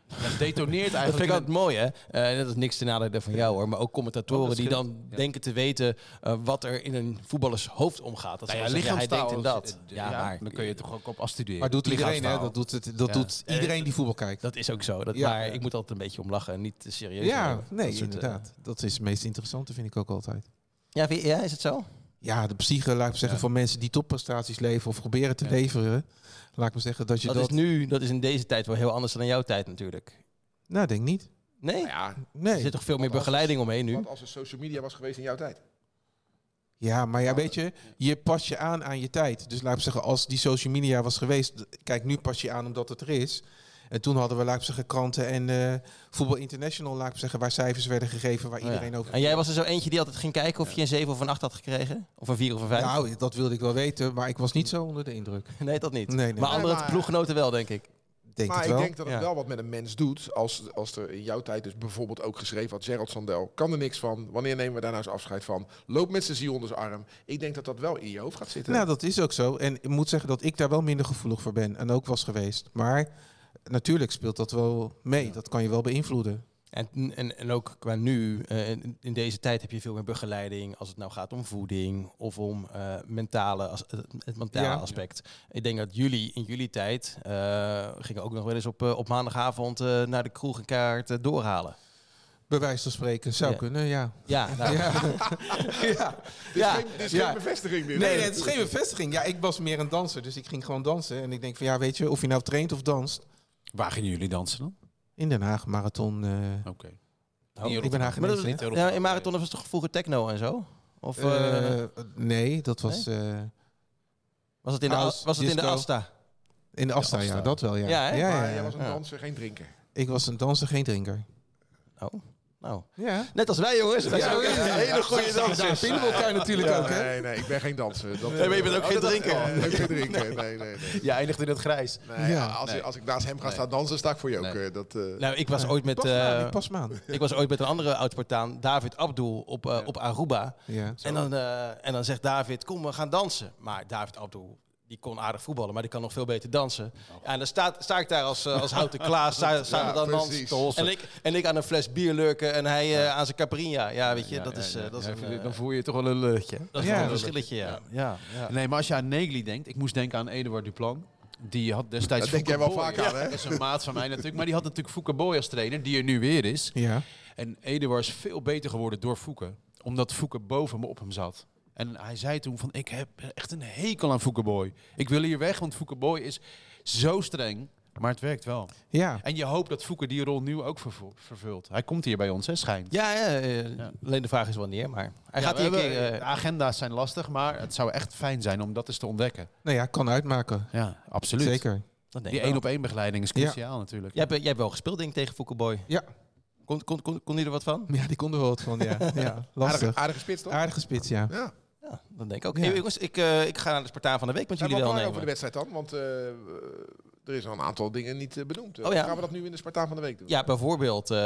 F: Dat detoneert
C: Dat vind
F: eigenlijk.
C: ik altijd mooi, hè? Eh, dat is niks ten nadele van jou, hoor. Maar ook commentatoren die dan denken te weten eh, wat er in een voetballers hoofd omgaat. Dat
F: Nou ja,
C: ze zeggen, hij denkt in
F: lichaamstaal is-
C: dat.
F: eh, ja, Dan kun je toch ook op afstuderen.
D: Maar doet iedereen, hè?
F: Lichaamstaal.
D: Dat doet, het, dat
F: Ja.
D: doet iedereen die voetbal kijkt.
C: Dat is ook zo. Dat,
D: Ja.
C: maar ik moet altijd een beetje om lachen en niet te serieus.
D: ja,
C: nemen.
D: nee,
C: Dat soort, eh,
D: inderdaad. Dat is het meest interessante, vind ik ook altijd.
C: ja, vind je- ja, is het zo?
D: Ja, de psyche, laat ik maar zeggen, van mensen die topprestaties leveren of proberen te leveren. Laat ik maar zeggen dat je
C: Dat,
D: dat...
C: is nu, dat is in deze tijd wel heel anders dan in jouw tijd natuurlijk.
D: Nou, denk niet.
C: Nee?
E: Nou ja,
C: er
D: Nee.
C: zit toch veel meer
E: als-
C: begeleiding omheen nu?
E: wat als er social media was geweest in jouw tijd?
D: Ja, maar ja, weet je, je pas je aan aan je tijd. Dus laat ik zeggen, als die social media was geweest... Kijk, nu pas je aan omdat het er is. En toen hadden we, laat ik zeggen, kranten en eh Voetbal International, laat ik zeggen, waar cijfers werden gegeven, waar iedereen over...
C: En jij was er zo eentje die altijd ging kijken of je een 7 of een 8 had gekregen? Of een 4 of een 5?
D: Nou, dat wilde ik wel weten, maar ik was niet zo onder de indruk.
C: *laughs* nee, dat niet.
D: Nee, nee.
C: Maar
D: Nee,
C: andere
E: maar-
C: ploeggenoten wel, denk ik.
D: Denk
E: maar
D: het
E: ik
D: wel.
E: denk dat het
C: Ja.
E: wel wat met een mens doet. Als, als er in jouw tijd dus bijvoorbeeld ook geschreven had... Gerald Sandel kan er niks van. Wanneer nemen we daar nou eens afscheid van? Loop met zijn ziel onder zijn arm. Ik denk dat dat wel in je hoofd gaat zitten.
D: Nou, dat is ook zo. En ik moet zeggen dat ik daar wel minder gevoelig voor ben. En ook was geweest. Maar natuurlijk speelt dat wel mee. Dat kan je wel beïnvloeden.
C: En, en, en ook qua nu, eh, in, in deze tijd heb je veel meer begeleiding als het nou gaat om voeding of om eh, mentale, as- het, het mentale
D: Ja.
C: aspect. Ik denk dat jullie in jullie tijd eh, gingen ook nog wel eens op, eh, op maandagavond eh, naar de kroeg een kaart eh, doorhalen.
D: Bij wijze van spreken zou
C: Ja.
D: kunnen, ja.
C: Ja, nou, ja.
E: dit is, geen, dit is
D: ja.
E: geen bevestiging meer.
D: Nee, het is geen bevestiging. Ja, ik was meer een danser. Dus ik ging gewoon dansen. En ik denk van ja, weet je, of je nou traint of danst.
F: Waar gingen jullie dansen dan?
D: In Den Haag, marathon. eh,
F: Oké.
C: Oh,
D: ik ben
C: Maar dat
D: Hagenees,
C: is
D: hè?
F: niet heel
C: ja,
F: erg.
C: in marathon was het toch vroeger techno en zo? Of eh,
D: Eh, nee, dat was eh,
C: was het in de,
D: house,
C: was het in de
D: disco.
C: Asta?
D: in de Asta,
F: Asta.
D: ja. Dat wel, ja.
C: Ja, hè?
D: ja,
E: Maar
D: ja.
E: jij was een
C: Ja.
E: danser, geen drinker.
D: Ik was een danser, geen drinker.
C: Oh, nou.
D: Ja.
C: Net als wij jongens. Wij zijn ook echt een hele goede
D: Daar
C: dansers.
D: vinden we elkaar natuurlijk ook, hè?
E: nee, nee, ik ben geen danser. Dat,
C: Nee, maar je bent ook geen
E: dat-
C: drinker.
E: eh, ik ben geen drinker, nee, nee, nee.
F: Ja, eindigt in het grijs.
E: Nee,
D: Ja.
E: als, als ik naast hem ga staan dansen, sta ik voor je ook.
F: Nee.
E: eh, Dat, eh,
C: Nou, ik was ooit met...
D: Pas me aan,
C: eh,
D: ik pas me aan.
C: Ik was ooit met een andere oud-Spartaan, David Abdul, op, eh, op Aruba.
D: Ja.
C: En dan, eh, en dan zegt David, kom we gaan dansen. Maar David Abdul, die kon aardig voetballen, maar die kan nog veel beter dansen. Ja, en dan sta, sta ik daar als, eh, als houten Klaas, sta, sta
E: Ja,
C: er dan
E: precies.
C: dansen te hossen. En ik, en ik aan een fles bier lurken en hij eh, aan zijn Caprinha. Ja, weet je, dat is, eh, dat is een, eh,
F: dan voel je je toch wel een luchtje.
C: dat is
D: Ja,
C: wel een
D: dat-
C: verschilletje, ja. ja. ja.
F: Nee, maar als je aan Negli denkt, ik moest denken aan Eduard Duplan. Die had destijds.
E: Dat denk jij wel
F: Fouke Boy.
E: vaak aan, hè?
F: Dat is een maat van mij natuurlijk. Maar die had natuurlijk Fouke Boy als trainer, die er nu weer
D: *laughs*
F: is.
D: Ja.
F: En Eduard is veel beter geworden door Fouke. Omdat Fouke boven me op hem zat. En hij zei toen van, ik heb echt een hekel aan Fouke Boy. Ik wil hier weg, want Fouke Boy is zo streng. Maar het werkt wel.
D: Ja.
F: En je hoopt dat Fouke die rol nu ook vervo- vervult. Hij komt hier bij ons, hè, schijnt.
C: Ja, eh, alleen de vraag is wanneer, maar hij
F: Ja,
C: gaat
F: we
C: hier een keer...
F: hebben-
C: eh,
F: de agenda's zijn lastig, maar het zou echt fijn zijn om dat eens te ontdekken.
D: Nou ja, kan uitmaken.
F: Ja, absoluut.
D: Zeker.
C: dat denk
F: Die
C: ik wel.
F: één op één begeleiding is cruciaal natuurlijk.
C: Jij hebt, jij hebt wel gespeeld, denk ik, tegen Foukeboy.
D: Ja.
C: Kon, kon, kon, kon hij er wat van?
D: ja, die kon er wel wat van. Ja, ja.
E: aardige,
D: lastig.
E: aardige spits, toch?
D: Aardige spits, ja.
E: Ja.
C: Ja, Ja, dat denk ik ook.
D: Ja.
C: Hey, jongens, ik, eh, ik ga naar de Spartaan van de Week met
E: Zijn
C: jullie
E: we al klaar
C: deelnemen.
E: over de wedstrijd dan? Want eh, er is al een aantal dingen niet eh, benoemd.
C: Oh ja.
E: Gaan we dat nu in de Spartaan van de Week doen?
C: Ja, bijvoorbeeld. eh,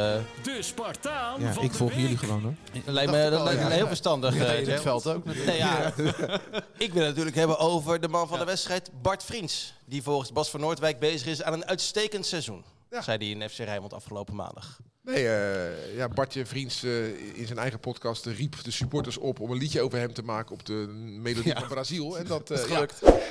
B: De Spartaan
D: Ja,
B: van
D: ik
B: de
D: volg
B: week.
D: jullie gewoon hoor.
C: lijkt me, dat
E: al,
C: lijkt me
E: ja.
C: heel verstandig. eh,
F: in
C: Jel.
F: het veld ook.
C: Nee, ja. *laughs* ik wil het natuurlijk hebben over de man van de wedstrijd, Bart Vriends. Die volgens Bas van Noordwijk bezig is aan een uitstekend seizoen.
E: Ja.
C: Zei hij in FC Rijnmond afgelopen maandag.
E: Nee, eh, ja, Bartje Vriends eh, in zijn eigen podcast eh, riep de supporters op om een liedje over hem te maken op de melodie van Brazil. En dat, eh, ja,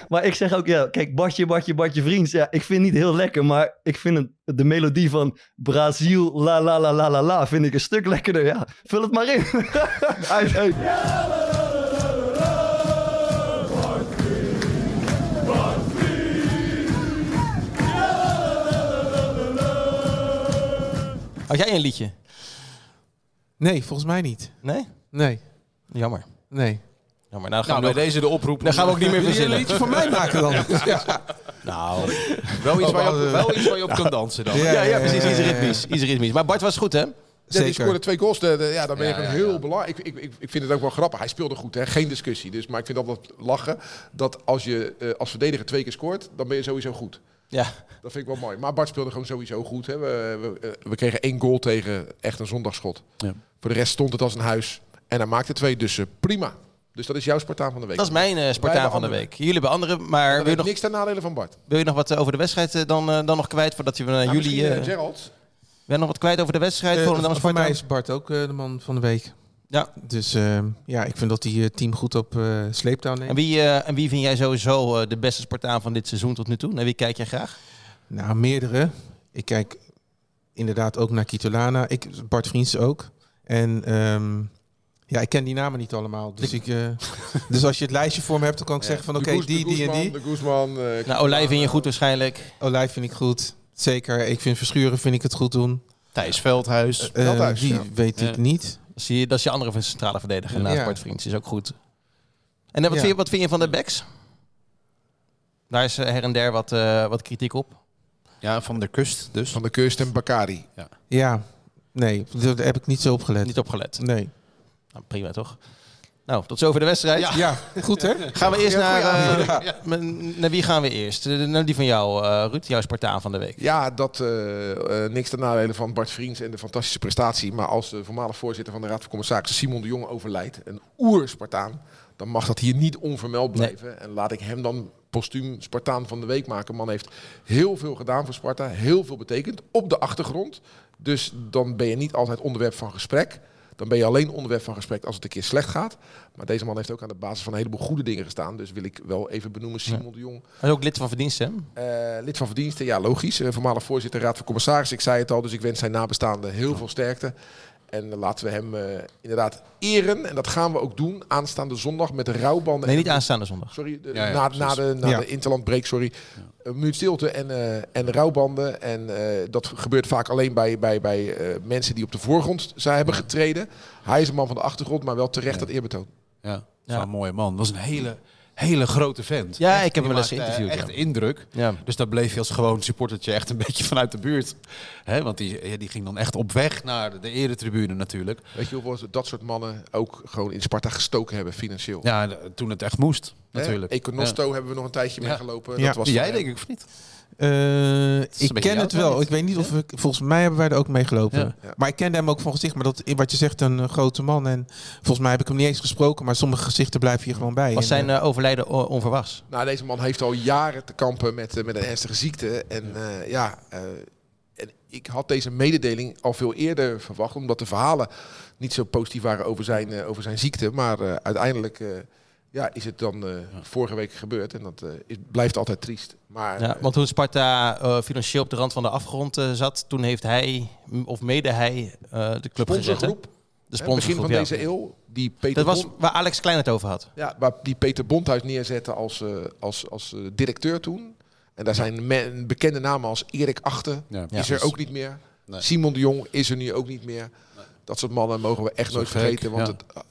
G: Maar ik zeg ook, ja, kijk, Bartje, Bartje, Bartje Vriends. Ja, ik vind het niet heel lekker, maar ik vind het, de melodie van Brazil, la la la la la la, vind ik een stuk lekkerder. Ja, vul het maar in. uit, uit.
C: Had jij een liedje?
D: Nee, volgens mij niet.
C: Nee?
D: Nee,
C: Jammer.
D: nee.
C: Jammer. Nou, gaan
F: Nou,
C: we
F: bij
C: ook-
F: deze de oproep.
C: daar gaan we ook niet
E: *laughs*
C: meer
D: Wil je een
C: verzinnen.
D: liedje voor mij maken dan? Ja,
C: Nou,
F: Wel iets waar je op,
D: Oh,
F: wel iets waar je op kan dansen dan.
C: ja, ja, precies. Iets ritmisch. Iets ritmisch. Maar Bart was goed, hè?
E: Ja, die
D: Zeker.
E: scoorde twee goals. De- de- ja, dan ben je
F: Ja,
E: gewoon
F: ja,
E: heel
F: ja.
E: belangrijk. Ik, ik, ik, ik vind het ook wel grappig. Hij speelde goed, hè? geen discussie. Dus, maar ik vind altijd lachen dat als je eh, als verdediger twee keer scoort, dan ben je sowieso goed.
C: Ja.
E: Dat vind ik wel mooi. Maar Bart speelde gewoon sowieso goed. Hè? We, we, eh, we kregen één goal tegen echt een zondagschot.
F: Ja.
E: Voor de rest stond het als een huis. En hij maakte twee, dus eh, prima. Dus dat is jouw Spartaan van de week.
C: Dat is mijn eh, Spartaan
E: hebben
C: van de
E: andere.
C: week. Jullie hebben andere, maar wil je, nog,
E: niks ten nadele van Bart.
C: wil je nog wat eh, over de wedstrijd eh, dan, eh, dan nog kwijt? Voordat we naar
E: Nou,
C: jullie...
E: misschien, eh,
C: eh,
E: Gerald.
C: wil je nog wat kwijt over de wedstrijd?
D: Eh,
C: Volendam
D: voor mij
C: Spartaan?
D: is Bart ook eh, de man van de week.
C: Ja.
D: Dus eh, ja, ik vind dat hij het team goed op eh sleeptouw neemt.
C: En wie, eh, en wie vind jij sowieso eh, de beste Spartaan van dit seizoen tot nu toe? Naar wie kijk jij graag?
D: Nou, meerdere. Ik kijk inderdaad ook naar Kitolana. Ik, Bart Vriends ook. En ehm, ja, ik ken die namen niet allemaal. Dus, ik, eh, *laughs* dus als je het lijstje voor me hebt, dan kan ik zeggen van
E: De
D: oké,
E: Guzman,
D: die, die en die.
E: De Guzman. eh,
C: Nou, Olij vind je goed waarschijnlijk.
D: Olij vind ik goed. Zeker. Ik vind Verschuren vind ik het goed doen.
F: Thijs Veldhuis.
D: Eh,
E: Veldhuis,
D: die
E: ja.
D: weet ik
F: Ja.
D: niet.
C: Zie je, dat is je andere centrale verdediger naast
D: Ja.
C: Bart Vriends. Is ook goed. En dan, wat,
D: Ja.
C: vind je, wat vind je van de backs? Daar is eh, her en der wat, eh, wat kritiek op.
F: Ja, van de kust dus.
E: Van de Kust en Bakari.
D: Ja, nee, daar daar heb ik niet zo op gelet.
C: Niet opgelet.
D: Nee.
C: Nou, prima toch? Nou, tot zover de wedstrijd.
D: Ja, goed hè?
C: Gaan we eerst naar, eh,
D: Ja.
C: m- naar wie gaan we eerst? Eh, Naar die van jou, eh, Ruud, jouw Spartaan van de week.
E: Ja, dat eh, eh, niks ten nadele van Bart Vriends en de fantastische prestatie. Maar als de voormalig voorzitter van de Raad van Commissarissen Simon de Jong overlijdt, een oer-Spartaan, dan mag dat hier niet onvermeld blijven. En laat ik hem dan postuum Spartaan van de week maken. Man heeft heel veel gedaan voor Sparta, heel veel betekend op de achtergrond. Dus dan ben je niet altijd onderwerp van gesprek. Dan ben je alleen onderwerp van gesprek als het een keer slecht gaat. Maar deze man heeft ook aan de basis van een heleboel goede dingen gestaan. Dus wil ik wel even benoemen Simon de Jong.
C: Hij is ook lid van verdiensten. hè?
E: Eh, lid van verdiensten, ja logisch. Eh, voormalig voorzitter Raad van Commissarissen. Ik zei het al, dus ik wens zijn nabestaanden heel veel sterkte. En eh, laten we hem eh, inderdaad eren. En dat gaan we ook doen aanstaande zondag met de rouwbanden.
C: Nee,
E: en-
C: niet aanstaande zondag.
E: Sorry, de-
F: Ja, ja,
E: na,
F: precies.
E: na de, na
D: Ja.
E: de Interland break, sorry. Een minuut stilte en, eh, en rouwbanden. En eh, dat gebeurt vaak alleen bij, bij, bij eh, mensen die op de voorgrond zijn hebben getreden. Hij is een man van de achtergrond, maar wel terecht dat eerbetoon.
F: Ja, dat is
C: Ja.
F: wel een mooie man. Dat was een hele, hele grote vent.
C: Ja,
F: Echt,
C: ik heb
F: die
C: hem wel eens
F: maakte, eh,
C: geïnterviewd,
F: Echt
C: ja.
F: indruk.
C: Ja.
F: Dus daar bleef je als gewoon supportertje echt een beetje vanuit de buurt. hè want die, ja, die ging dan echt op weg naar de, de eretribune natuurlijk.
E: Weet je hoeveel ze dat soort mannen ook gewoon in Sparta gestoken hebben financieel?
F: Ja, en, eh, toen het echt moest
E: Hè?
F: natuurlijk.
E: Econosto hebben we nog een tijdje
F: Ja.
E: meegelopen.
D: Ja.
E: Dat was
F: Ja. Jij
E: eh,
F: denk ik of niet?
D: Eh,
F: een
D: ik
F: beetje
D: ken
F: jouw
D: het wel.
F: tijd.
D: Ik weet niet of ik, volgens mij hebben wij er ook mee gelopen.
F: Ja.
E: Ja.
D: Maar ik kende hem ook van gezicht. Maar dat, wat je zegt, een eh, grote man. En volgens mij heb ik hem niet eens gesproken. Maar sommige gezichten blijven hier gewoon bij.
C: Was
D: En,
C: zijn
D: eh,
C: eh, overlijden o- onverwachts?
E: Nou, deze man heeft al jaren te kampen met, eh, met een ernstige ziekte. En eh, ja, eh, en ik had deze mededeling al veel eerder verwacht, omdat de verhalen niet zo positief waren over zijn, eh, over zijn ziekte. Maar eh, uiteindelijk eh, ja, is het dan eh, vorige week gebeurd en dat eh, is, blijft altijd triest. Maar
C: Ja,
E: eh,
C: want toen Sparta eh, financieel op de rand van de afgrond eh, zat, toen heeft hij, m- of mede hij, eh, de club gezet. hè?
E: sponsorgroep,
C: De
E: hè, begin van
C: ja.
E: deze eeuw, die Peter
C: Dat was
E: Bond-
C: waar Alex Klein het over had.
E: Ja, waar die Peter Bondhuis neerzette als, eh, als, als eh, directeur toen. En daar zijn men, bekende namen als Erik Achten.
F: Ja.
E: is er ook niet meer.
F: Nee.
E: Simon de Jong is er nu ook niet meer. Dat soort mannen mogen we echt
F: Zo
E: nooit
F: gek,
E: vergeten. Want
F: ja.
E: het, ah,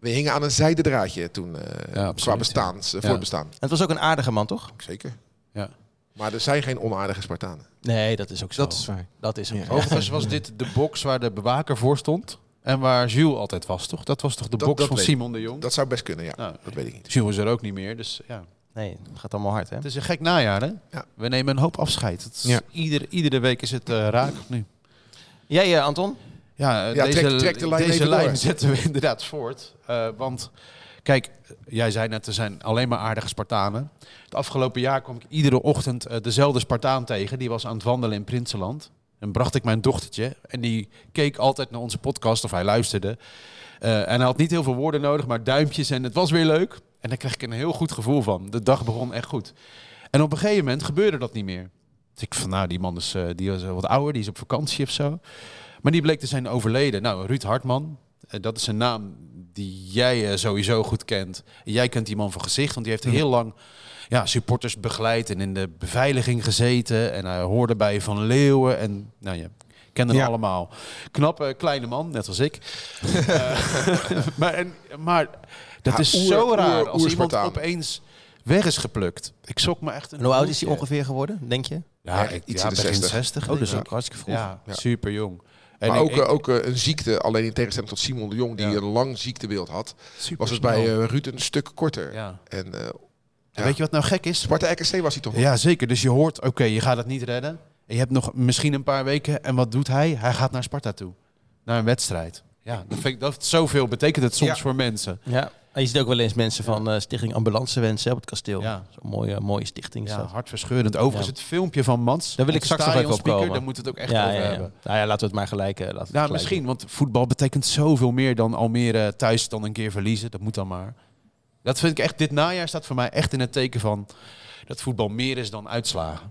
E: we hingen aan een zijden draadje toen. eh
F: absoluut,
E: qua
F: ja.
E: bestaans, eh,
F: Ja.
E: voortbestaan.
C: En het was ook een aardige man, toch?
E: Zeker.
F: Ja.
E: Maar er zijn geen onaardige Spartanen.
C: Nee, dat is ook zo.
D: dat is waar.
F: Oh.
C: Dat is ook zo.
F: Overigens was dit de box waar de bewaker voor stond. En waar Jules altijd was, toch? Dat was toch de
E: Dat-
F: box
E: dat
F: van
E: weet
F: Simon de Jong?
E: Dat zou best kunnen, ja.
F: Nou,
E: Dat weet ik niet.
F: Jules is er ook niet meer, dus ja.
C: Nee, het gaat allemaal hard, hè?
F: Het is een gek najaar, hè?
D: Ja.
F: We nemen een hoop afscheid. Het is-
D: Ja.
F: ieder, iedere week is het eh, raak nu.
C: Jij, eh, Anton?
F: Ja, eh,
E: Ja,
F: deze,
E: trek- trek de lijn
F: deze
E: even
F: lijn
E: door.
F: zetten we *laughs* inderdaad voort. Eh, want kijk, jij zei net, er zijn alleen maar aardige Spartanen. Het afgelopen jaar kwam ik iedere ochtend eh, dezelfde Spartaan tegen. Die was aan het wandelen in Prinseland. En bracht ik mijn dochtertje. En die keek altijd naar onze podcast, of hij luisterde. Eh, en hij had niet heel veel woorden nodig, maar duimpjes. En het was weer leuk. En daar kreeg ik een heel goed gevoel van. De dag begon echt goed. En op een gegeven moment gebeurde dat niet meer. Dus ik van, nou, die man is, eh, die was eh, wat ouder, die is op vakantie of zo. Maar die bleek te zijn overleden. Nou, Ruud Hartman, eh, dat is een naam die jij eh, sowieso goed kent. Jij kent die man van gezicht, want die heeft heel lang ja, supporters begeleid en in de beveiliging gezeten. En hij hoorde bij Van Leeuwen en nou ja, kende hem
D: Ja.
F: allemaal. Knappe, kleine man, net als ik. Eh, *laughs* maar, en, maar dat
E: Ja,
F: is
E: oer-
F: zo raar
E: oer-
F: als iemand
E: oerspartaan.
F: opeens weg is geplukt. Ik sok me echt een
C: En hoe oud is hij
F: hoedje.
C: ongeveer geworden, denk je?
F: Ja,
E: Ja,
F: ik,
E: iets
F: ja,
E: in de
F: begin
E: 60.
F: 60.
C: Oh,
F: denk
C: dus
F: ik.
C: ook hartstikke vroeg.
F: Ja,
E: Ja.
F: super jong. En
E: maar
F: ik-
E: ook,
F: ik-
E: eh, ook eh, een ziekte, alleen in tegenstelling tot Simon de Jong, die
F: Ja.
E: een lang ziektebeeld had,
F: super
E: was het
F: snel.
E: bij eh, Ruud een stuk korter.
F: ja.
E: En eh
F: En Weet je wat nou gek is?
E: Sparta RKC was hij toch?
F: Ja, zeker. Dus je hoort, oké, je gaat het niet redden. En je hebt nog misschien een paar weken. En wat doet hij? Hij gaat naar Sparta toe. Naar een wedstrijd. Ja, dat vind ik, dat, zoveel betekent het soms
D: Ja.
F: voor mensen.
C: Ja. En je ziet ook wel eens mensen van eh, Stichting Ambulance wensen op het kasteel.
F: Ja.
C: Zo'n mooie, mooie stichting is
F: Ja,
C: dat.
F: hartverscheurend. Overigens,
C: Ja.
F: het filmpje van Mans.
C: Daar wil ik
F: onze
C: straks nog even op
F: stadionspeaker,
C: komen.
F: Daar moet het ook echt
C: ja,
F: over
C: ja, ja.
F: hebben.
C: Nou ja, laten we het maar gelijk... eh, laten we het
F: Nou,
C: gelijk
F: misschien,
C: doen.
F: want voetbal betekent zoveel meer dan Almere thuis dan een keer verliezen. Dat moet dan maar. Dat vind ik echt, dit najaar staat voor mij echt in het teken van dat voetbal meer is dan uitslagen.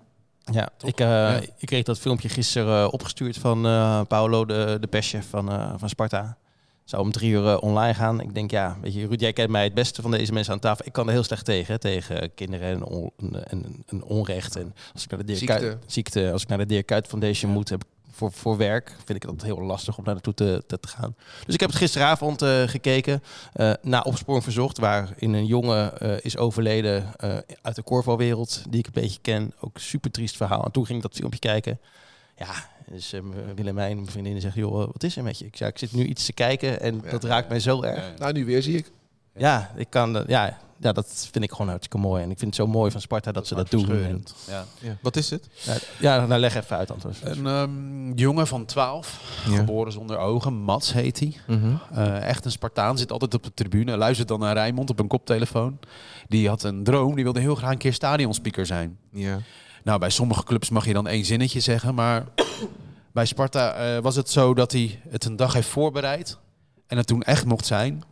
C: Ja, ik, eh, ik kreeg dat filmpje gisteren eh, opgestuurd van eh, Paolo, de, de perschef van, eh, van Sparta. Zou om drie uur eh, online gaan. Ik denk, ja, weet je, Ruud, jij kent mij het beste van deze mensen aan tafel. Ik kan er heel slecht tegen, hè, tegen eh, kinderen en, on- en, en- en onrecht. En als ik naar de Dirk
E: Ziekte.
C: Kuyt, ziekte, als ik naar de Dirk Kuyt Foundation moet, heb ik voor, voor werk vind ik dat heel lastig om daar naartoe te, te, te gaan. Dus ik heb het gisteravond eh, gekeken eh na Opsporing Verzocht, waarin een jongen eh, is overleden eh, uit de korfbalwereld, die ik een beetje ken. Ook een super triest verhaal. En toen ging ik dat filmpje kijken. Ja, dus eh, Willemijn, mijn vriendin, zegt, joh, eh, wat is er met je? Ik zei, ik zit nu iets te kijken en
E: Ja.
C: dat raakt mij zo erg.
F: Ja.
E: Nou, nu weer zie ik.
C: Ja, ik kan, eh, ja, ja, dat vind ik gewoon hartstikke mooi. En ik vind het zo mooi van Sparta dat, ze dat doen. En,
F: Ja.
D: Ja. Wat is het?
C: ja, ja, nou leg even uit, Anton.
F: Een ehm, jongen van 12,
D: Ja.
F: geboren zonder ogen, Mats heet hij.
D: Mhm.
F: Eh, echt een Spartaan, zit altijd op de tribune. Luistert dan naar Rijnmond op een koptelefoon. Die had een droom, die wilde heel graag een keer stadionspeaker zijn.
D: Ja.
F: Nou, bij sommige clubs mag je dan één zinnetje zeggen, maar *coughs* bij Sparta eh, was het zo dat hij het een dag heeft voorbereid en het toen echt mocht zijn.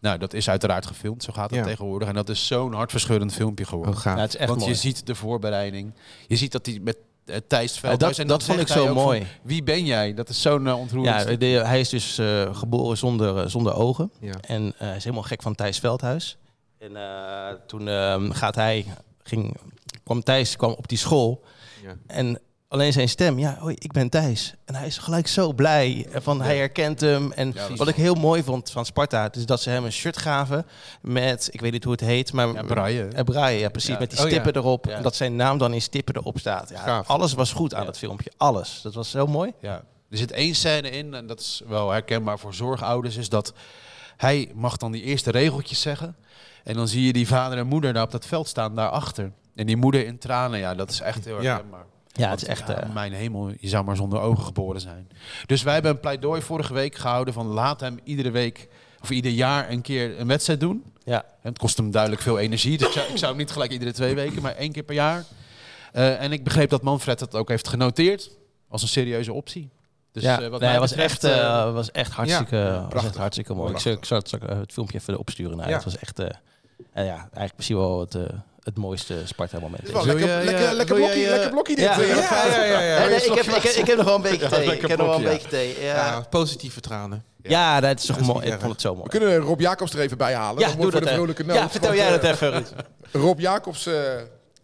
F: Nou, dat is uiteraard gefilmd, zo gaat het
D: Ja.
F: tegenwoordig. En dat is zo'n hartverscheurend filmpje geworden.
D: Oh, gaaf.
C: Ja, het is echt
F: Want
C: mooi.
F: je ziet de voorbereiding. Je ziet dat hij met eh, Thijs Veldhuis...
C: dat-
F: en
C: dat
F: dan
C: vond
F: zegt
C: ik zo
F: hij ook van,
C: mooi.
F: Wie ben jij? Dat is zo'n eh, ontroerend
C: Ja, de- hij is dus eh, geboren zonder, eh, zonder ogen.
D: Ja.
C: En eh, hij is helemaal gek van Thijs Veldhuis. En eh, toen ehm, gaat hij, ging, kwam Thijs kwam op die school.
D: Ja.
C: En alleen zijn stem, ja, hoi, ik ben Thijs. En hij is gelijk zo blij. En Van, Hij herkent hem. En
F: dat is
C: wat ik heel mooi vond van Sparta, is dat ze hem een shirt gaven met, ik weet niet hoe het heet, maar...
F: Ja, Braille.
C: Eh, Braille, ja, precies.
F: Ja.
C: Met die
F: Oh, ja.
C: stippen erop.
F: Ja.
C: En dat zijn naam dan in stippen erop staat. Ja,
D: Gaaf.
C: alles was goed aan
F: Ja.
C: dat filmpje. Alles. Dat was zo mooi.
F: Ja. Er zit één scène in, en dat is wel herkenbaar voor zorgouders, is dat hij mag dan die eerste regeltjes zeggen. En dan zie je die vader en moeder daar op dat veld staan, daarachter. En die moeder in tranen, ja, dat is echt heel
D: Ja.
F: herkenbaar.
C: Ja, het
F: Want,
C: is echt...
F: ja,
C: eh,
F: mijn hemel, je zou maar zonder ogen geboren zijn. Dus wij hebben een pleidooi vorige week gehouden van laat hem iedere week of ieder jaar een keer een wedstrijd doen.
C: ja.
F: En Het kost hem duidelijk veel energie. Dus ik zou, ik zou hem niet gelijk iedere twee weken, maar één keer per jaar. Eh, en ik begreep dat Manfred dat ook heeft genoteerd als een serieuze optie. Dus
C: ja,
F: eh, wat
C: nee,
F: mij
C: hij was,
F: betreft,
C: echt,
F: eh,
C: eh, was echt hartstikke, was echt
E: prachtig.
C: hartstikke mooi. Ik, zou- ik zou het, straks, eh, het filmpje even opsturen. Nou,
D: Ja.
C: Het was echt eh, eh, ja, eigenlijk misschien wel het, eh, het mooiste Sparta-moment.
E: Dit is wel
F: Wil
E: lekker,
F: je-
E: lekker,
F: ja,
E: lekker,
F: wil
E: blokkie,
F: jij, eh,
E: lekker blokkie dit.
C: ja.
E: eh.
D: Ja, ja, ja, ja.
C: Eh, Nee, nee, ik, heb, ik, heb, ik heb nog
H: *laughs*
C: wel een beetje thee. ik
F: lekker
C: heb nog wel een
F: blokje,
C: beetje thee. Ja,
D: Ja,
C: ja.
D: positief vertrouwen.
C: dat is toch
D: Dat is
C: mooi.
D: niet
C: Ik vond het zo mooi.
E: We kunnen Rob Jacobs er even bij halen.
C: Ja, doe
E: Dan wordt voor
C: dat
E: de vrolijke
C: even.
E: noot.
C: Ja, vertel
E: Want,
C: jij
E: eh,
C: dat even, Ruud.
E: Rob Jacobs eh,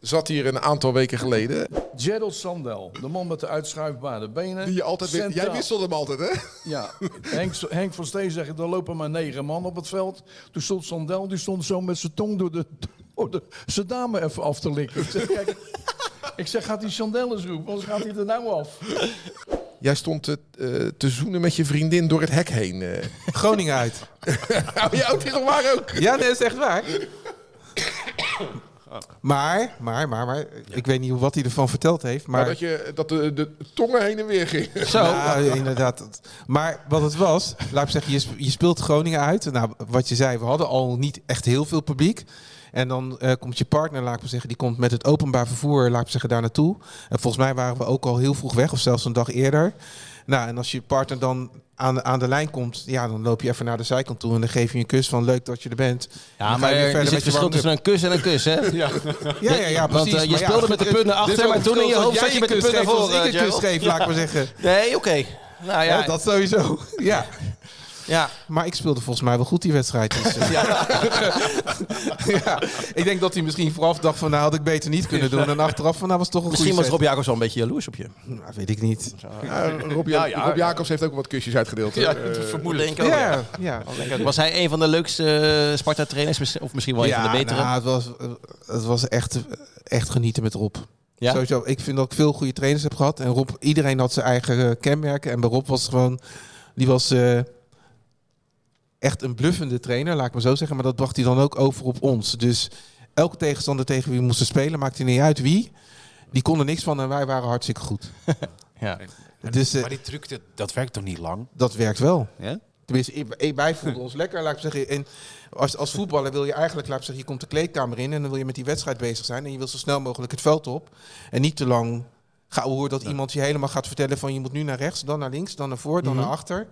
E: zat hier een aantal weken geleden.
H: Gerald Sandel, de man met de uitschuifbare benen.
E: Die je altijd wist-
H: Centraal.
E: Jij wisselde hem altijd, hè?
H: Ja, Henk, Henk van Steen zegt, er lopen maar *laughs* negen man op het veld. Toen stond Sandel, die stond zo met zijn tong door de, door de zijn dame even af te likken. Ik zeg, kijk, ik zeg gaat die Sandel eens roepen, anders gaat hij er nou af.
E: Jij stond te, eh, te zoenen met je vriendin door het hek heen. *laughs* eh.
D: Groningen uit.
E: Hou je ook tegen waar ook?
D: Ja, nee, dat is echt waar.
C: *coughs*
D: Maar, maar, maar, maar, ik weet niet hoe- wat hij ervan verteld heeft. Maar
E: Maar
C: Oh,
E: dat, je, dat de, de tongen heen en weer gingen.
D: Zo. inderdaad. Dat- Maar wat het was, laat ik zeggen, je sp- je speelt Groningen uit. Nou, wat je zei, we hadden al niet echt heel veel publiek. En dan eh, komt je partner, laat ik maar zeggen, die komt met het openbaar vervoer, laat ik maar zeggen, daar naartoe. En volgens mij waren we ook al heel vroeg weg, of zelfs een dag eerder. Nou, en als je partner dan aan de, aan de lijn komt, ja, dan loop je even naar de zijkant toe en dan geef je een kus van leuk dat je er bent. En
C: Ja,
D: dan
C: maar
D: ga je weer
C: er
D: verder
C: is
D: met
C: het
D: je
C: verschil
D: warming-up.
C: tussen een kus en een kus, hè?
D: *laughs* Ja, ja, ja, precies.
C: Want, eh, je
D: Maar ja,
C: speelde
D: goed,
C: met de
D: dit-
C: punt naar
D: dit is
C: achter,
D: ook
C: maar
D: het
C: toen in je
D: verschil
C: hoofd
D: dat
C: zat je met
D: jij
C: de
D: een
C: punt naar
D: kus geeft als
C: voren,
D: ik een kus
C: Gerald.
D: geef, laat ik maar zeggen.
C: Nee, oké. Nou ja,
D: Ja, dat sowieso. Ja.
C: ja.
D: Maar ik speelde volgens mij wel goed die wedstrijd. Dus, eh, ja. *laughs* Ik denk dat hij misschien vooraf dacht van nou had ik beter niet kunnen doen. En achteraf van nou was toch een
C: misschien was
D: goede
C: Rob Jacobs wel een beetje jaloers op je.
D: set. Nou, weet ik niet.
E: Ja, Rob,
F: Ja, ja,
E: Rob
F: ja.
E: Jacobs heeft ook wat kusjes uitgedeeld. hè?
F: Ja,
E: Eh,
F: vermoedelijk.
C: Denk ik ook, ja.
D: Ja, ja.
C: Was hij een van de leukste eh, Sparta-trainers? mis- Of misschien wel een van de betere?
D: nou, het was, eh, het was echt, echt genieten met Rob.
C: Ja?
D: Sowieso, ik vind dat ik veel goede trainers heb gehad. En Rob, iedereen had zijn eigen eh, kenmerken. En bij Rob was het gewoon, die was eh, echt een bluffende trainer, laat ik maar zo zeggen. Maar dat bracht hij dan ook over op ons. Dus elke tegenstander tegen wie we moesten spelen, maakte niet uit wie. Die kon er niks van en wij waren hartstikke goed.
C: *laughs* Ja.
D: Dus eh,
F: Maar die truc, dat, dat werkt toch niet lang?
D: dat werkt wel.
F: Ja?
D: Tenminste, ik- ik- wij voelden ons lekker, laat ik zeggen. En als, als voetballer wil je eigenlijk, laat ik zeggen, je komt de kleedkamer in en dan wil je met die wedstrijd bezig zijn. En je wil zo snel mogelijk het veld op. En niet te lang gaan horen dat iemand je helemaal gaat vertellen van je moet nu naar rechts, dan naar links, dan naar voor,
C: Mhm.
D: dan naar achter.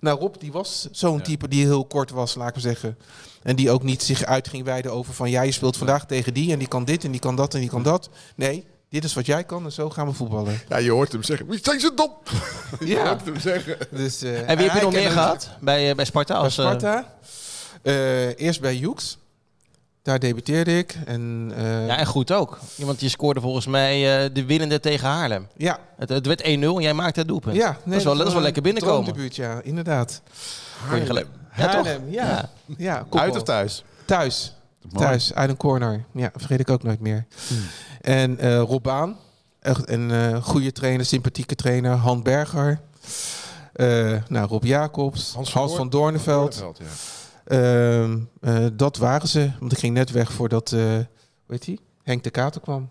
D: Nou, Rob, die was zo'n type die heel kort was, laat ik maar zeggen. En die ook niet zich uit ging wijden over van, ja, je speelt vandaag tegen die en die kan dit en die kan dat en die kan dat. Nee, dit is wat jij kan en zo gaan we voetballen.
E: Ja, je hoort hem zeggen. Wie zijn ze dom? Je
D: Ja.
E: hoort hem zeggen.
D: *laughs* Dus, eh,
C: En wie heb
D: hij
C: je nog meer
D: kende-
C: gehad bij, eh, bij Sparta? Als, eh,
D: bij Sparta. Eh, eerst bij Joeks. Daar debuteerde ik. En, eh,
C: ja,
D: ja,
C: en goed ook. Want je scoorde volgens mij eh, de winnende tegen Haarlem.
D: ja,
C: Het, het werd 1-0 en jij maakte het doelpunt.
D: nee,
C: dat is wel, dat is wel
D: een
C: lekker binnenkomen.
D: droomdebuut, ja, inderdaad.
C: Voor je gelijk. Ja, toch?
D: Haarlem, ja. ja. kopbal.
F: Uit of thuis?
D: Thuis.
F: Mooi.
D: Thuis, uit een corner. Ja, vergeet ik ook nooit meer. En eh Rob Baan. Echt een eh, goede trainer, sympathieke trainer. Han Berger. Eh, nou, Rob Jacobs. Hans
E: Hans
D: van,
E: van
D: Doorneveld.
E: ja.
D: Ehm, eh, dat waren ze. Want ik ging net weg voordat eh hoe heet die? Henk de Kater kwam.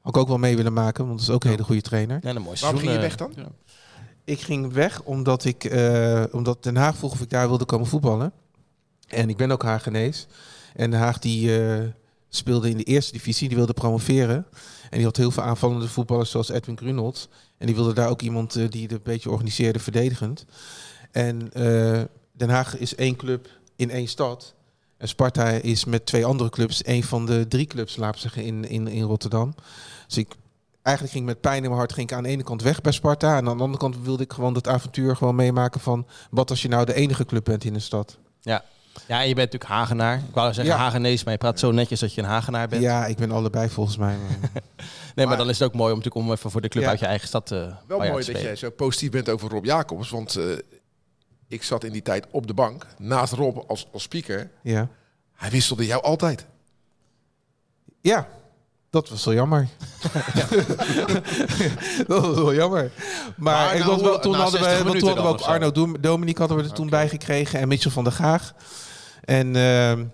D: Had ik ook wel mee willen maken, want dat is ook een hele goede trainer.
C: Ja, een mooi
E: Waarom
C: seizoen.
E: ging je
C: eh,
E: weg dan?
D: Ik ging weg omdat, ik, eh, omdat Den Haag vroeg of ik daar wilde komen voetballen. En ik ben ook Haagenees. En Den Haag die eh, speelde in de eerste divisie, die wilde promoveren. En die had heel veel aanvallende voetballers zoals Edwin Grunholz. En die wilde daar ook iemand eh, die het een beetje organiseerde, verdedigend. En eh, Den Haag is één club in één stad. En Sparta is met twee andere clubs één van de drie clubs, laat ik zeggen, in, in, in Rotterdam. Dus ik eigenlijk ging ik met pijn in mijn hart ging ik aan de ene kant weg bij Sparta. En aan de andere kant wilde ik gewoon dat avontuur gewoon meemaken van... wat als je nou de enige club bent in een stad?
C: Ja. ja, en je bent natuurlijk Hagenaar. Ik wou zeggen
D: Ja.
C: Hagenees, maar je praat zo netjes dat je een Hagenaar bent.
D: Ja, ik ben allebei volgens mij. maar- *laughs*
C: Nee, maar dan is het ook mooi om, natuurlijk om even voor de club
D: Ja.
C: uit je eigen stad eh, bij jou te
E: Wel
D: Oh
E: mooi dat
C: spelen.
E: jij zo positief bent over Rob Jacobs. Want eh, ik zat in die tijd op de bank naast Rob als, als speaker.
D: ja.
E: Hij wisselde jou altijd.
D: ja, dat was wel
F: *laughs*
D: jammer. dat was wel jammer. Maar,
F: Maar
D: ik
F: nou,
D: was wel, toen,
F: na
D: hadden we,
F: 60
D: want toen hadden we
F: minuten dan
D: ook
F: of zo.
D: Arno Dom- Dominique hadden we er toen bij gekregen. En Mitchell van der Gaag. En ehm,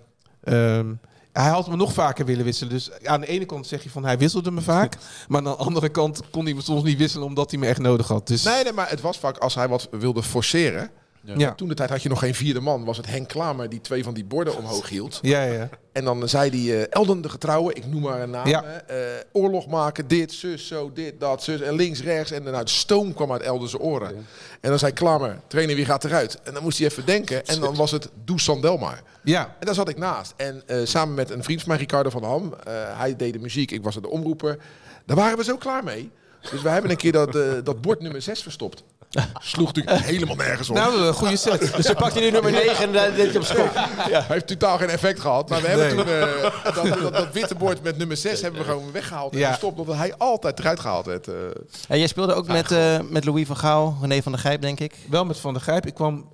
D: ehm, hij had me nog vaker willen wisselen. Dus aan de ene kant zeg je van hij wisselde me vaak.
F: *laughs*
D: maar aan de andere kant kon hij me soms niet wisselen omdat hij me echt nodig had. Dus
E: Nee, nee, maar het was vaak als hij wat wilde forceren.
D: ja.
E: Toen de tijd had je nog geen vierde man. Was het Henk Klamer die twee van die borden omhoog hield.
D: Ja, ja.
E: En dan zei die eh, Elden de getrouwe, ik noem maar een naam.
D: Ja.
E: hè, eh, oorlog maken, dit, zus, zo, dit, dat, zus. En links, rechts. En dan uit stoom kwam uit Elden zijn oren. En dan zei Klamer, trainer, wie gaat eruit? En dan moest hij even denken. En dan was het, doe Sandel maar.
D: ja.
E: En daar zat ik naast. En eh, samen met een vriend van mij, Ricardo van Ham. eh, hij deed de muziek, ik was de omroeper. Daar waren we zo klaar mee. Dus we hebben een keer dat, eh, dat bord nummer 6 verstopt. Sloeg natuurlijk helemaal nergens op.
D: Nou, een goede set.
C: *laughs* Dus dan pakt hij nu nummer 9 en dan deed je op school.
E: Hij heeft totaal geen effect gehad. Maar we hebben toen eh, dat, dat, dat witte bord met nummer 6 hebben we gewoon weggehaald en
D: Ja.
E: gestopt. Omdat hij altijd eruit gehaald werd. eh.
C: En jij speelde ook met, eh, met Louis van Gaal, René van der Gijp, denk ik.
D: Wel met Van der Grijp. Ik kwam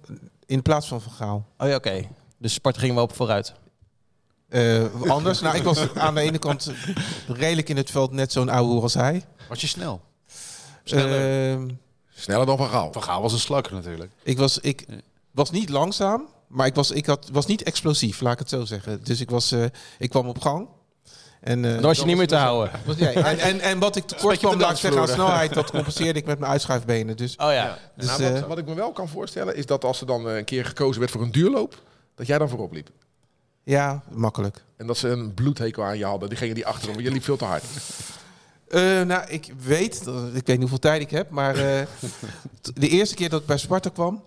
D: in plaats van Van Gaal.
C: Oh ja, oké. Dus Sparta ging wel op vooruit.
D: Eh, anders. nou, ik was aan de ene kant redelijk in het veld net zo'n ouwe hoer als hij.
F: Was je snel?
D: Ehm,
E: Sneller dan Van Gaal.
F: Van Gaal was een slakker natuurlijk.
D: Ik was, ik was niet langzaam, maar ik was, ik had, was niet explosief, laat ik het zo zeggen. Dus ik, was, eh, ik kwam op gang. En, eh,
C: Dan was je niet meer te
D: was-
C: houden.
D: was- nee,
C: *laughs*
D: en, en, en wat ik tekort
F: beetje op
D: kwam,
F: de
D: laat ik zeggen, aan
F: dansvloer.
D: snelheid, dat compenseerde ik met mijn uitschuifbenen. Dus,
C: Oh ja.
D: dus
E: Nou, wat,
D: eh,
E: wat ik me wel kan voorstellen is dat als er dan eh, een keer gekozen werd voor een duurloop, dat jij dan voorop liep.
D: ja, makkelijk.
E: En dat ze een bloedhekel aan je hadden. Diegenen die achterom, want je liep veel te hard.
D: Eh, nou, ik weet, dat- ik weet niet hoeveel tijd ik heb, maar eh, t- de eerste keer dat ik bij Sparta kwam,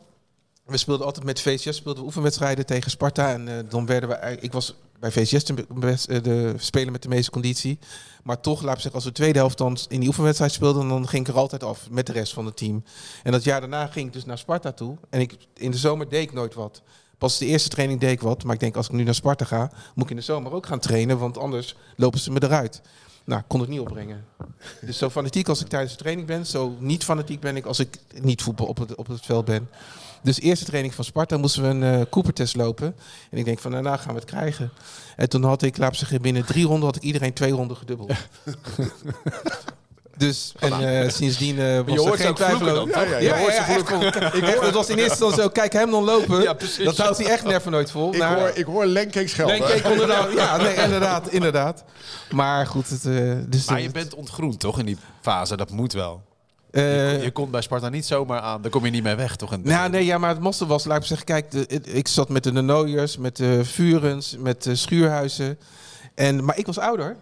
D: we speelden altijd met VCS, speelden we oefenwedstrijden tegen Sparta en eh, dan werden we, eigenlijk- ik was bij VCS de, best- eh, de speler met de meeste conditie, maar toch, laat ik zeggen, als we de tweede helft dan in die oefenwedstrijd speelden, dan ging ik er altijd af met de rest van het team. En dat jaar daarna ging ik dus naar Sparta toe en ik, in de zomer deed ik nooit wat. Pas de eerste training deed ik wat, maar ik denk als ik nu naar Sparta ga, moet ik in de zomer ook gaan trainen, want anders lopen ze me eruit. Nou, ik kon het niet opbrengen. *laughs* Dus zo fanatiek als ik tijdens de training ben, zo niet fanatiek ben ik als ik niet voetbal op het, op het veld ben. Dus eerste training van Sparta moesten we een eh Coopertest lopen. En ik denk van daarna gaan we het krijgen. En toen had ik, laat ik zeggen, binnen drie ronden had ik iedereen twee ronden gedubbeld. dus, en eh, sindsdien eh, was er geen twijfel over.
E: Ja, ja, ja.
D: Ja, ja, ja, echt wel.
E: *laughs*
D: Echt, Het was in eerste instantie zo, kijk hem dan lopen. dat houdt hij echt never nooit vol.
E: Ik,
D: Maar-
E: hoor, ik hoor Lenkeek
D: Denk
E: schelden.
D: ik inderdaad. Ja,
E: *laughs*
D: nee, inderdaad, inderdaad. Maar goed, het, eh, dus
F: Maar je
D: het-
F: bent ontgroend toch in die fase? Dat moet wel.
D: eh,
F: Je komt bij Sparta niet zomaar aan. Daar kom je niet meer weg toch? In het
D: nou,
F: begin?
D: nee, ja, maar het moste was, laat ik zeggen, kijk, de, het- ik zat met de Nooiers, met de Vurens, met de Schuurhuizen. En, maar ik was ouder.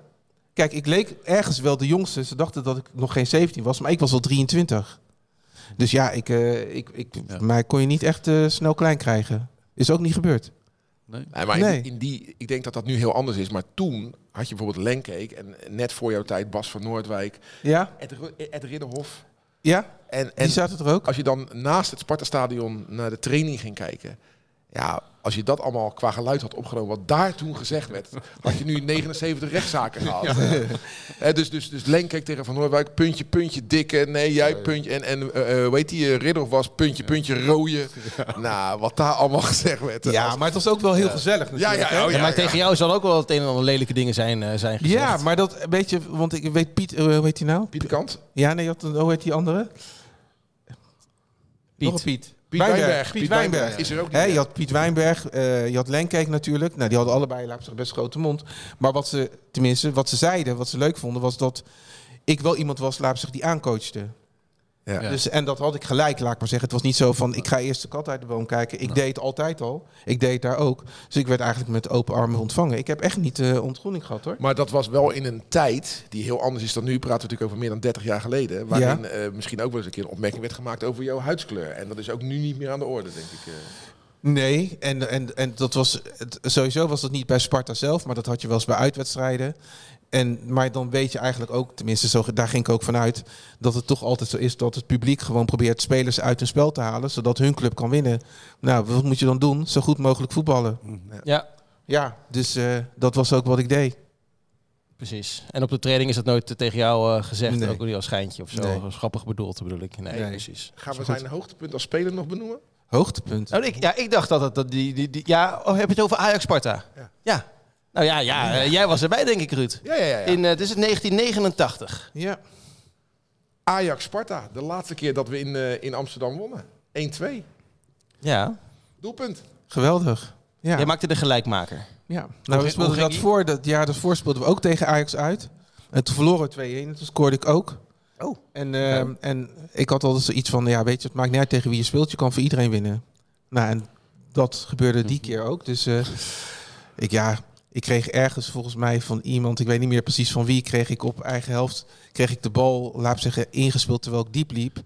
D: Kijk, ik leek ergens wel de jongste. Ze dachten dat ik nog geen 17 was, maar ik was al 23. Dus ja, ik, eh, ik, ik,
F: Ja.
D: mij kon je niet echt eh, snel klein krijgen. Is ook niet gebeurd.
E: Nee, maar in,
D: Nee.
E: in die, ik denk dat dat nu heel anders is. Maar toen had je bijvoorbeeld Lenkeek en net voor jouw tijd Bas van Noordwijk,
D: Ja?
E: Ed, Ru- Ed Ridderhof.
D: Ja?
E: En, en
D: Die zaten er ook?
E: als je dan naast het Sparta-stadion naar de training ging kijken. Ja, als je dat allemaal qua geluid had opgenomen, wat daar toen gezegd werd,
D: *laughs*
E: had je nu 79 rechtszaken gehad. Hè, dus, dus, dus Lenkeek tegen Van Noordwijk, puntje, puntje, dikke, nee, jij, puntje. En, en eh, eh, hoe heet die, eh, Ridderhof was, puntje, puntje, rooie. Nou, wat daar allemaal *laughs* gezegd werd.
D: Ja, maar het was ook wel heel gezellig
E: ja,
D: natuurlijk.
E: ja,
D: hè?
E: oh, ja,
C: maar
E: ja.
C: tegen jou zal ook wel het een en ander lelijke dingen zijn, eh, zijn gezegd.
D: Ja, maar dat weet je, want ik weet Piet, eh, hoe heet hij nou?
E: Pieter Kant.
D: Ja, nee, had, een- hoe heet die andere? Nog een Piet.
E: Piet Wijnberg.
D: Piet Wijnberg.
E: Is er ook niet.
D: Hè,
E: meer.
D: je had Piet Wijnberg, eh, je had Lenkeek natuurlijk. Nou, die hadden allebei laat ik zeggen, best grote mond. Maar wat ze, tenminste, wat ze zeiden, wat ze leuk vonden, was dat ik wel iemand was, laat ik zeggen, die aancoachte.
E: Ja.
F: Ja.
D: Dus, en dat had ik gelijk, laat ik maar zeggen. Het was niet zo van, ik ga eerst de kat uit de boom kijken. Ik deed het altijd al. Ik deed het daar ook. Dus ik werd eigenlijk met open armen ontvangen. Ik heb echt niet eh ontgroening gehad, hoor.
E: Maar dat was wel in een tijd die heel anders is dan nu. Praten we natuurlijk over meer dan 30 jaar geleden. Waarin eh, misschien ook wel eens een keer een opmerking werd gemaakt over jouw huidskleur. En dat is ook nu niet meer aan de orde, denk ik. eh.
D: Nee, en, en, en dat was, het- sowieso was dat niet bij Sparta zelf, maar dat had je wel eens bij uitwedstrijden. En, maar dan weet je eigenlijk ook, tenminste zo, daar ging ik ook vanuit, dat het toch altijd zo is dat het publiek gewoon probeert spelers uit hun spel te halen, zodat hun club kan winnen. Nou, wat moet je dan doen? Zo goed mogelijk voetballen.
C: Ja,
D: Ja, dus eh, dat was ook wat ik deed.
C: precies. En op de training is dat nooit eh, tegen jou eh, gezegd,
D: Nee.
C: ook niet als schijntje of zo.
D: Nee.
C: Als grappig bedoeld bedoel ik. Nee,
D: Nee.
C: precies.
E: Gaan we zijn hoogtepunt als speler nog benoemen?
D: Hoogtepunt.
C: Nou, ik, ja, ik dacht dat het- dat die, die, die... Ja, oh, heb je het over Ajax-Sparta? Ja. Nou ja, ja eh, jij was erbij denk ik, Ruud.
E: Ja, ja, ja. ja.
C: In, eh, het is het 1989.
D: Ja.
E: Ajax-Sparta, de laatste keer dat we in, eh, in Amsterdam wonnen. 1-2.
C: Ja.
E: Doelpunt.
D: Geweldig. Ja.
C: Jij maakte de gelijkmaker.
D: Ja, nou, we
C: ging-
D: speelden
C: hoe ging
D: dat
C: die?
D: voor, dat jaar daarvoor speelden we ook tegen Ajax uit. En toen verloren we 2-1, en toen scoorde ik ook.
C: Oh.
D: En, ehm, en ik had altijd zoiets van, ja, weet je, het maakt niet uit tegen wie je speelt, je kan voor iedereen winnen. Nou, en dat gebeurde die
C: Mhm.
D: keer ook. Dus eh, ik, ja, ik kreeg ergens volgens mij van iemand, ik weet niet meer precies van wie, kreeg ik op eigen helft, kreeg ik de bal, laat ik zeggen, ingespeeld terwijl ik diep liep.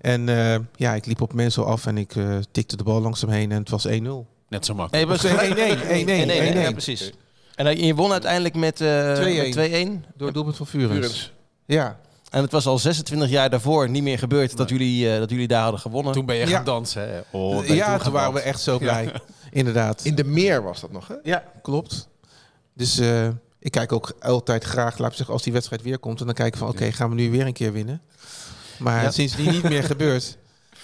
D: En eh, ja, ik liep op mensen af en ik eh, tikte de bal langzaam heen en het was 1-0.
C: *laughs*
F: Net zo makkelijk.
C: Nee, het was
D: 1-1, 1-1, 1-1.
C: Ja, precies. En je won uiteindelijk met eh,
D: 2-1.
C: met 2-1.
D: Door het doelpunt van Vurens.
E: Jurens.
D: Ja.
C: En het was al 26 jaar daarvoor niet meer gebeurd dat, jullie, eh, dat jullie daar hadden gewonnen.
F: Toen ben je
D: Ja.
F: gaan dansen. Hè? Oh, ben je
D: Eh, ja,
F: gaan
D: toen waren we
F: dansen.
D: echt zo blij. Inderdaad.
E: In de meer was dat nog, hè?
D: Ja, klopt. Dus eh, ik kijk ook altijd graag, laat ik zeggen, als die wedstrijd weer komt. En dan kijken van, oké, gaan we nu weer een keer winnen? Maar
C: Ja.
D: sindsdien niet meer gebeurd.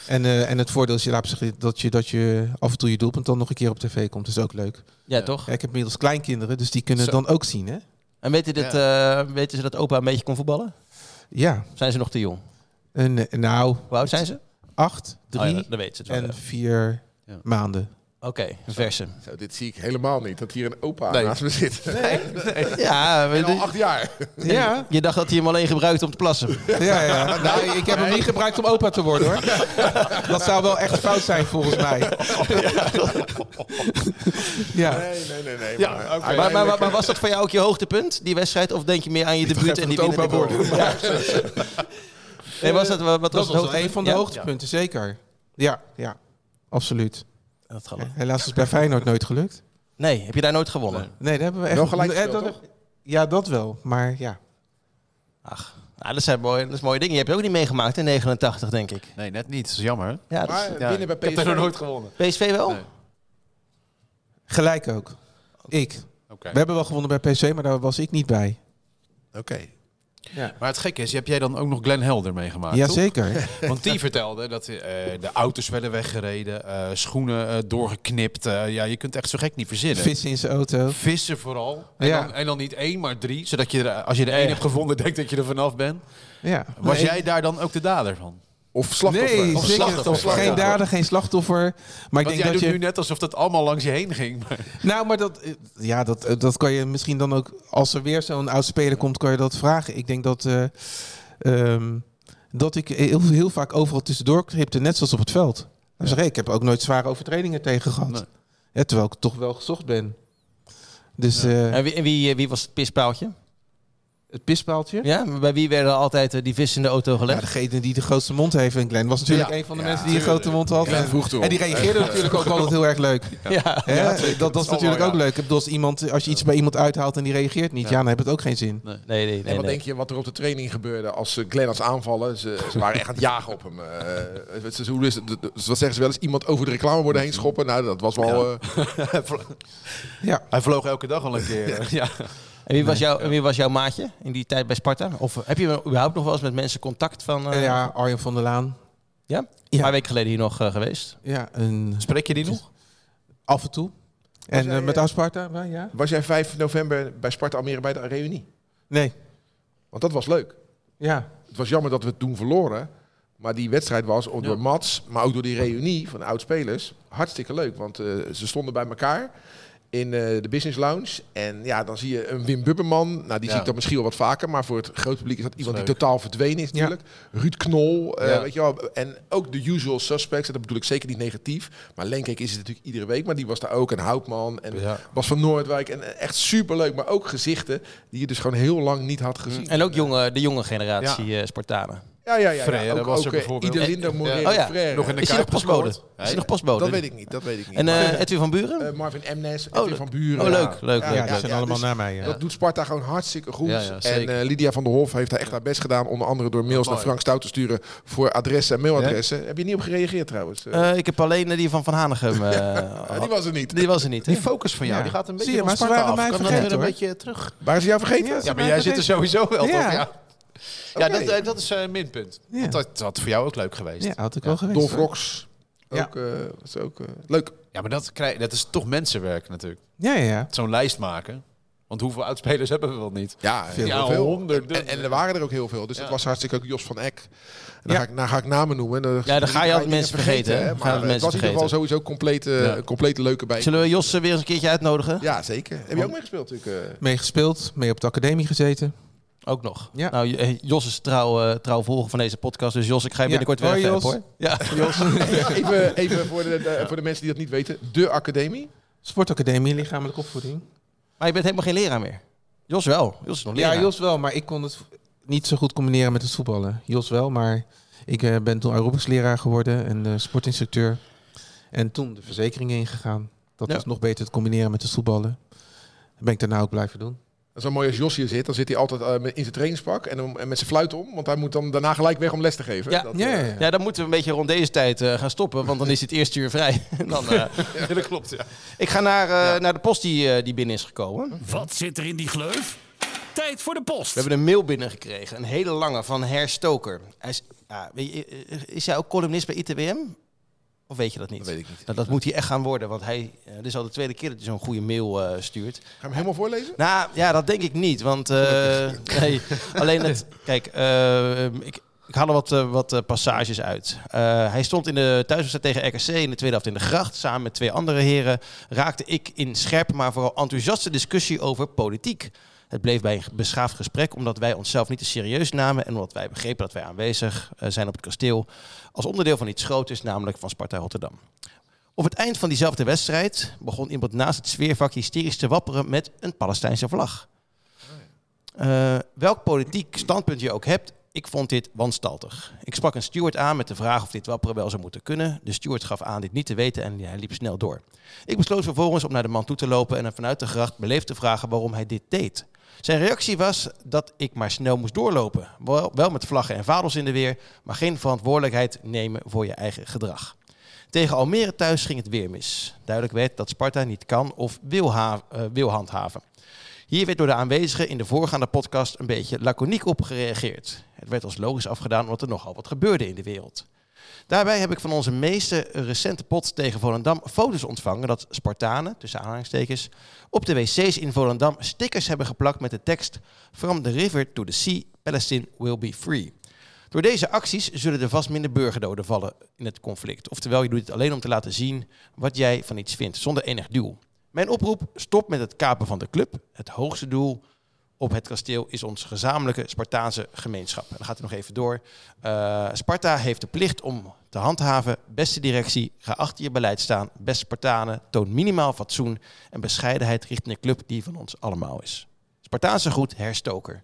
D: En, eh, en het voordeel is, laat ik zeggen, dat je, dat je af en toe je doelpunt dan nog een keer op tv komt. Dat is ook leuk.
C: ja, toch?
D: Ja, ik heb inmiddels kleinkinderen, dus die kunnen het
F: Zo.
D: dan ook zien, hè?
C: En weten, dit, eh, weten ze dat opa een beetje kon voetballen?
D: Ja,
C: Of zijn ze nog te jong?
D: Een, eh, nou,
C: Hoe oud zijn ze?
D: acht, drie
C: Oh ja, dat- dat weet ze het wel.
D: en
C: ja.
D: vier
F: Ja.
D: maanden.
C: Oké, verse.
E: Zo, dit zie ik helemaal niet, dat hier een opa
F: Nee.
E: naast me zit.
C: Ja, we-
E: En al acht jaar.
D: Ja,
C: je dacht dat hij hem alleen gebruikte om te plassen.
D: ja, ja. Nou, ik heb hem niet gebruikt om opa te worden hoor. Dat zou wel echt fout zijn volgens mij. Ja.
E: Nee, nee, nee. nee
F: Ja, oké.
E: uiteindelijk-
C: Maar, maar, maar, maar was dat voor jou ook je hoogtepunt, die wedstrijd? Of denk je meer aan je debuut en die
E: het
C: winnende
E: opa
C: goal? Ja. Nee, was dat, wat was het
D: Dat was wel een
C: hoogtepunt?
D: van de
C: Ja?
D: hoogtepunten, zeker. Ja, ja, absoluut.
C: Ja, dat geloof ik.
D: Helaas is het bij Feyenoord nooit gelukt.
C: Nee, heb je daar nooit gewonnen?
D: Nee, daar hebben we echt...
E: Wel gelijk
D: eh,
E: gespeeld,
D: dat- Ja, dat wel. Maar ja,
C: Ach, nou, dat, zijn mooie, dat is mooie dingen. Je hebt het ook niet meegemaakt in 89, denk ik.
F: Nee, net niet. Dat is jammer.
C: Ja, dat is-
E: Maar
F: Ja,
E: binnen bij
F: ik heb
E: PSV...
F: er nog nooit gewonnen.
C: PSV wel?
F: Nee.
D: gelijk ook. Ik.
F: Oké.
D: We hebben wel gewonnen bij PSV, maar daar was ik niet bij.
E: Oké.
F: Maar het gekke is, heb jij dan ook nog Glenn Helder
D: Ah,
F: meegemaakt?
D: *laughs*
F: toch?
D: Jazeker.
F: Want die vertelde dat eh, de auto's werden weggereden, eh, schoenen eh, doorgeknipt. eh, ja, je kunt echt zo gek niet verzinnen.
D: Vissen in zijn auto.
F: Vissen vooral. En,
D: Ja.
F: dan, en dan niet één, maar drie. Zodat je er, eh, als je er één hebt gevonden, denkt dat je er vanaf bent.
D: Ja.
F: Was
D: Nee.
F: jij daar dan ook de dader van?
E: Of slachtoffer.
D: Nee,
E: of
D: zeker.
E: slachtoffer.
D: Geen dader, geen slachtoffer. Maar ik
F: Want
D: denk
F: jij
D: dat
F: doet
D: je...
F: nu net alsof dat allemaal langs je heen ging. Maar
D: Nou, maar dat, eh, ja, dat, eh, dat kan je misschien dan ook... Als er weer zo'n oud speler komt, kan je dat vragen. Ik denk dat, eh, ehm, dat ik heel, heel vaak overal tussendoor knipte, net zoals op het veld. Dan zeg ik, ik heb ook nooit zware overtredingen tegen gehad.
F: Nee.
D: Ja, terwijl ik toch wel gezocht ben. Dus eh,
C: En wie, en wie, eh, wie was het pispaaltje?
D: het pispaaltje.
C: Ja, maar bij wie werden altijd eh, die vissen in de auto
D: Ja,
C: gelegd?
D: degene die de grootste mond heeft. En Glenn was natuurlijk
F: Ja.
D: een van de
F: Ja,
D: mensen die een grote mond had.
E: Glenn
D: En-
E: vroeg erom.
D: eh, en die reageerde natuurlijk ook altijd heel erg leuk.
C: *laughs* Ja.
D: Hè? dat, dat is
F: allemaal,
D: natuurlijk ook
F: ja.
D: leuk. Ik bedoel, Als, iemand, als je iets bij iemand uithaalt en die reageert niet, ja, dan heb het ook geen zin.
C: Nee, nee,
E: En
C: nee.
E: wat
C: nee.
E: denk je wat er op de training gebeurde als eh, Glenn als aanvallen? Ze, ze waren echt aan het jagen op hem. Eh, het is- hoe is het, wat zeggen ze wel eens? Iemand over de reclameborden heen schoppen? Nou, dat was wel... eh,
D: Ja.
F: hij vloog elke dag al een keer. *laughs* ja.
C: En wie was, jouw, en wie was jouw maatje in die tijd bij Sparta? Of eh, heb je überhaupt nog wel eens met mensen contact van... eh,
D: Eh, ja, Arjen van der Laan.
C: ja? Een paar weken geleden hier nog eh, geweest.
D: Ja, een,
F: Spreek je die nog?
D: af en toe. En
E: jij,
D: eh, met
E: eh,
D: Asparta, wel, ja?
E: was jij 5 november bij Sparta Almere bij de reunie?
D: Nee.
E: Want dat was leuk.
D: Ja.
E: Het was jammer dat we het toen verloren. Maar die wedstrijd was ook door Mats, maar ook door die reunie van de oud-spelers, hartstikke leuk. Want eh, ze stonden bij elkaar in eh, de business lounge. En ja, dan zie je een Wim Bubberman. Nou, die
F: Ja.
E: zie ik dan misschien wel wat vaker. Maar voor het grote publiek is dat iemand die
F: leuk.
E: totaal verdwenen is natuurlijk. Ruud Knol, eh,
F: Ja.
E: weet je wel. En ook de usual suspects. En dat bedoel ik zeker niet negatief. Maar Lenkeek is het natuurlijk iedere week. Maar die was daar ook. En Houtman en
F: Ja.
E: Bas van Noordwijk. En eh, echt superleuk. Maar ook gezichten die je dus gewoon heel lang niet had gezien.
C: En ook jonge, de jonge generatie eh, Spartanen.
E: Ja, ja, ja.
F: Frère
E: ja. Ook,
F: was er
E: ook, eh,
F: bijvoorbeeld.
E: Idelindo Moreira
C: Oh ja.
E: Eh, Frère.
F: Nog in de
C: Is hij nog
F: Kuip
C: postbode?
F: gescoord.
C: Is hij nog postbode?
E: Dat weet ik niet, dat weet ik niet.
C: En
E: Maar,
C: eh, Edwin van Buren?
E: eh, Marvin Emnes,
C: oh,
E: Edwin van Buren.
C: oh, leuk, leuk,
D: Ja,
C: leuk,
D: die zijn
E: dus
D: allemaal naar mij. ja.
E: Dat doet Sparta gewoon hartstikke goed.
F: Ja, ja,
E: en
F: zeker.
E: eh, Lydia van der Hof heeft daar echt haar best gedaan. Onder andere door mails naar
F: mooi.
E: Frank Stout te sturen voor adressen en mailadressen. Heb je niet op gereageerd trouwens? Eh,
C: Eh, ik heb alleen eh, die van Van Hanegem. eh,
E: ja, die
C: gehad.
E: was er niet.
C: die was er niet.
F: Die focus van jou,
D: Ja.
F: die gaat een beetje
D: Zie je,
F: van
D: maar ze
F: Sparta
D: waren
F: af.
D: mij
F: Kan dat
D: vergeten,
F: weer een
D: hoor.
F: beetje eh, terug?
E: Waren ze jou vergeten?
D: Ja,
F: Ja, maar
D: mij
F: jij zit er
D: vergeten.
F: sowieso wel,
D: Ja.
F: toch? Ja, ja
E: Oké.
F: dat, eh, dat is eh, een minpunt.
D: Ja.
F: Want dat, dat had voor jou ook leuk geweest.
D: Ja, had ik
F: Ja.
D: wel geweest.
E: Dolf Rox.
D: Ja.
E: Ook, eh, was ook eh, leuk.
F: Ja, maar dat, krijg, dat is toch mensenwerk natuurlijk.
D: Ja, ja, ja.
F: Zo'n lijst maken. Want hoeveel oudspelers *laughs* hebben we wel niet?
E: Ja,
D: Veel.
E: heel
F: Ja,
E: veel.
F: honderden.
E: En, en er waren er ook heel veel. Dus
F: Ja.
E: dat was hartstikke ook Jos van Eck. En dan,
D: Ja.
E: ga ik, nou ga ik namen noemen. Dan,
C: dan ga je altijd
E: dingen
C: mensen vergeten, hè?
E: hè,
C: Dan
E: Maar
C: gaan we
E: eh, het
C: mensen
E: was in ieder geval sowieso compleet, eh,
F: Ja.
E: een complete leuke bij.
C: Zullen we Jos eh, weer eens een keertje uitnodigen?
E: Ja, zeker. Heb je ook meegespeeld natuurlijk? eh?
D: Mee gespeeld, mee op de academie gezeten.
C: Ook nog.
D: Ja.
C: Nou, J- eh, Jos is trouw, eh, trouw volger van deze podcast. Dus Jos, ik ga je
D: Ja.
C: binnenkort weer
D: Hoi,
C: even
D: Jos.
C: helpen, hoor. Ja.
E: *laughs* even even voor, de, de- voor de mensen die dat niet weten. De academie.
D: Sportacademie, lichamelijke opvoeding.
C: Maar je bent helemaal geen leraar meer. Jos wel. Jos is nog leraar.
D: Ja, Jos wel, maar ik kon het niet zo goed combineren met het voetballen. Jos wel, maar ik eh, ben toen aerobicsleraar geworden en eh, sportinstructeur. En toen de verzekering ingegaan. Dat
C: Ja.
D: was nog beter te combineren met het voetballen. Dat ben ik daarna ook blijven doen.
E: Dat is wel mooi als Jos hier zit. Dan zit hij altijd eh, met in zijn trainingspak en, om- en met zijn fluit om. Want hij moet dan daarna gelijk weg om les te geven.
C: Ja.
E: dat,
D: Ja,
E: eh,
D: ja, ja.
C: Ja, dan moeten we een beetje rond deze tijd eh, gaan stoppen, want dan is het eerste uur vrij. *laughs* dan, eh,
F: Ja, dat klopt, ja.
C: ik ga naar, eh, naar de post die, eh, die binnen is gekomen.
B: Wat zit er in die gleuf? Tijd voor de post.
C: We hebben een mail binnengekregen, een hele lange, van Her Stoker. Hij is, ja, weet je, eh, is hij ook columnist bij ITWM? Of weet je dat niet?
E: Dat weet ik niet.
C: Nou, dat moet hij echt gaan worden, want hij, eh, dit is al de tweede keer dat hij zo'n goede mail eh, stuurt.
E: Ga je hem helemaal voorlezen?
C: Nou ja, dat denk ik niet. Want eh, nee, alleen het. Kijk, eh, ik, ik haal er wat, eh, wat eh, passages uit. Eh, hij stond in de thuiswedstrijd tegen RKC in de tweede helft in de gracht. Samen met twee andere heren raakte ik in scherp, maar vooral enthousiaste discussie over politiek. Het bleef bij een beschaafd gesprek omdat wij onszelf niet te serieus namen en omdat wij begrepen dat wij aanwezig eh, zijn op het kasteel als onderdeel van iets groters, namelijk van Sparta Rotterdam. Op het eind van diezelfde wedstrijd begon iemand naast het sfeervak hysterisch te wapperen met een Palestijnse vlag. Eh, welk politiek standpunt je ook hebt, ik vond dit wanstaltig. Ik sprak een steward aan met de vraag of dit wapperen wel zou moeten kunnen. De steward gaf aan dit niet te weten en hij liep snel door. Ik besloot vervolgens om naar de man toe te lopen en hem vanuit de gracht beleefd te vragen waarom hij dit deed. Zijn reactie was dat ik maar snel moest doorlopen. Wel, wel met vlaggen en vadels in de weer, maar geen verantwoordelijkheid nemen voor je eigen gedrag. Tegen Almere thuis ging het weer mis. Duidelijk werd dat Sparta niet kan of wil, ha- eh, wil handhaven. Hier werd door de aanwezigen in de voorgaande podcast een beetje laconiek op gereageerd. Het werd als logisch afgedaan omdat er nogal wat gebeurde in de wereld. Daarbij heb ik van onze meeste recente pot tegen Volendam foto's ontvangen dat Spartanen, tussen aanhalingstekens, op de wc's in Volendam stickers hebben geplakt met de tekst From the river to the sea, Palestine will be free. Door deze acties zullen er vast minder burgerdoden vallen in het conflict. Oftewel, je doet het alleen om te laten zien wat jij van iets vindt, zonder enig doel. Mijn oproep, stop met het kapen van de club. Het hoogste doel op het kasteel is onze gezamenlijke Spartaanse gemeenschap. En dan gaat het nog even door. Eh, Sparta heeft de plicht om te handhaven. Beste directie, ga achter je beleid staan. Beste Spartanen, toon minimaal fatsoen en bescheidenheid richting de club die van ons allemaal is. Spartaanse groet, herstoker.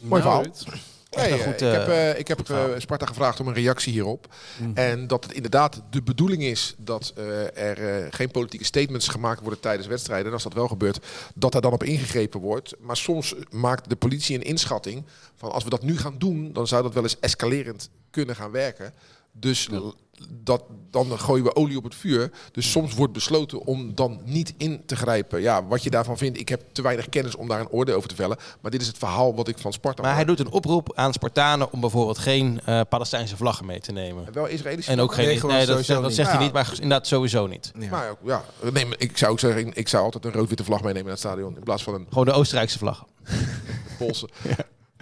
E: Mooi verhaal.
C: Echt een
E: Nee,
C: Nou, goed,
E: eh, ik heb,
C: eh,
E: eh, ik heb eh,
C: verhaal. Mhm.
E: Sparta gevraagd om een reactie hierop. En dat het inderdaad de bedoeling is dat eh, er eh, geen politieke statements gemaakt worden tijdens wedstrijden. En als dat wel gebeurt, dat daar dan op ingegrepen wordt. Maar soms maakt de politie een inschatting van als we dat nu gaan doen, dan zou dat wel eens escalerend kunnen gaan werken. Dus l- dat, dan gooien we olie op het vuur. Dus soms wordt besloten om dan niet in te grijpen. Ja, wat je daarvan vindt, ik heb te weinig kennis om daar een oordeel over te vellen. Maar dit is het verhaal wat ik van Sparta
C: Maar
E: hoor.
C: hij doet een oproep aan Spartanen om bijvoorbeeld geen eh, Palestijnse vlaggen mee te nemen.
E: En Wel Israëlische.
C: En ook geen.
D: Nee,
C: Nee,
D: gewoon
C: dat,
D: sowieso
C: dat
D: niet.
C: zegt hij
E: Ja.
C: niet, maar inderdaad sowieso niet.
D: Ja.
E: Maar ja, nee, maar ik zou ook zeggen, ik zou altijd een rood-witte vlag meenemen naar het stadion in plaats van een
C: Gewoon de Oostenrijkse vlag.
E: Poolse.
F: *laughs*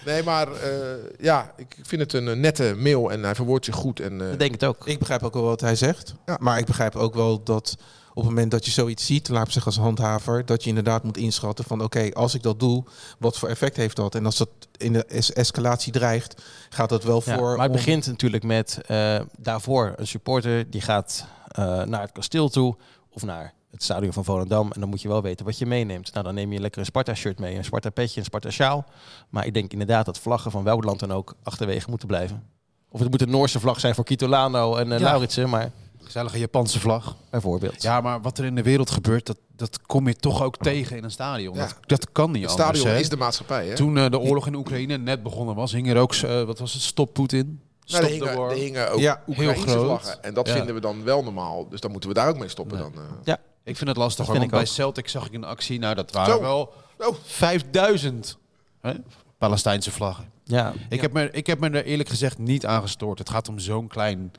E: Nee, maar eh, ja, ik vind het een eh, nette mail en hij verwoordt zich goed. En, eh,
C: Dat denk ik het ook.
D: Ik begrijp ook wel wat hij zegt.
E: Ja.
D: Maar ik begrijp ook wel dat op het moment dat je zoiets ziet, laat ik zeggen als handhaver, dat je inderdaad moet inschatten van oké, als ik dat doe, wat voor effect heeft dat? En als dat in de es- escalatie dreigt, gaat dat wel
C: Ja,
D: voor.
C: maar het
D: om-
C: begint natuurlijk met eh, daarvoor een supporter die gaat eh, naar het kasteel toe of naar het stadion van Volendam. En dan moet je wel weten wat je meeneemt. Nou, dan neem je lekker een Sparta-shirt mee, een Sparta-petje, een Sparta-sjaal. Maar ik denk inderdaad dat vlaggen van welk land dan ook achterwege moeten blijven. Of het moet een Noorse vlag zijn voor Kitolano en eh
F: Ja.
C: Lauritsen, maar
F: Gezellige Japanse vlag.
C: bijvoorbeeld.
F: Ja, maar wat er in de wereld gebeurt, dat, dat kom je toch ook tegen in een stadion.
E: Ja.
F: Dat, dat kan niet
E: het
F: anders.
E: stadion
F: hè.
E: is de maatschappij. Hè?
F: Toen eh, de oorlog in Oekraïne net begonnen was, hing er ook, eh, wat was het, stop Poetin. Stop
E: Nou, er,
F: the
E: hingen,
F: war.
E: er hingen ook
D: Ja,
E: Oekraïnse
F: heel groot.
E: vlaggen. En dat
F: Ja.
E: vinden we dan wel normaal. Dus dan moeten we daar ook mee stoppen.
F: Nee.
E: Dan, eh.
F: Ik vind het lastig,
C: Dat
F: hoor,
C: vind
F: want bij
C: ik
F: Celtic zag ik een actie, nou dat waren
E: Zo.
F: wel
E: Oh.
F: 5000 hè, Palestijnse vlaggen.
C: Ja.
F: Ik, heb me, ik heb me er eerlijk gezegd niet aan gestoord. Het gaat om zo'n klein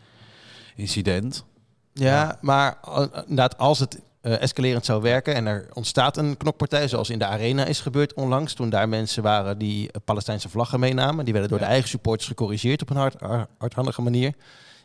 F: incident.
C: Ja, maar eh, inderdaad, als het eh, escalerend zou werken en er ontstaat een knokpartij, zoals in de arena is gebeurd onlangs, toen daar mensen waren die eh, Palestijnse vlaggen meenamen, die werden door
F: Ja.
C: de eigen supporters gecorrigeerd op een hard, har- hardhandige manier.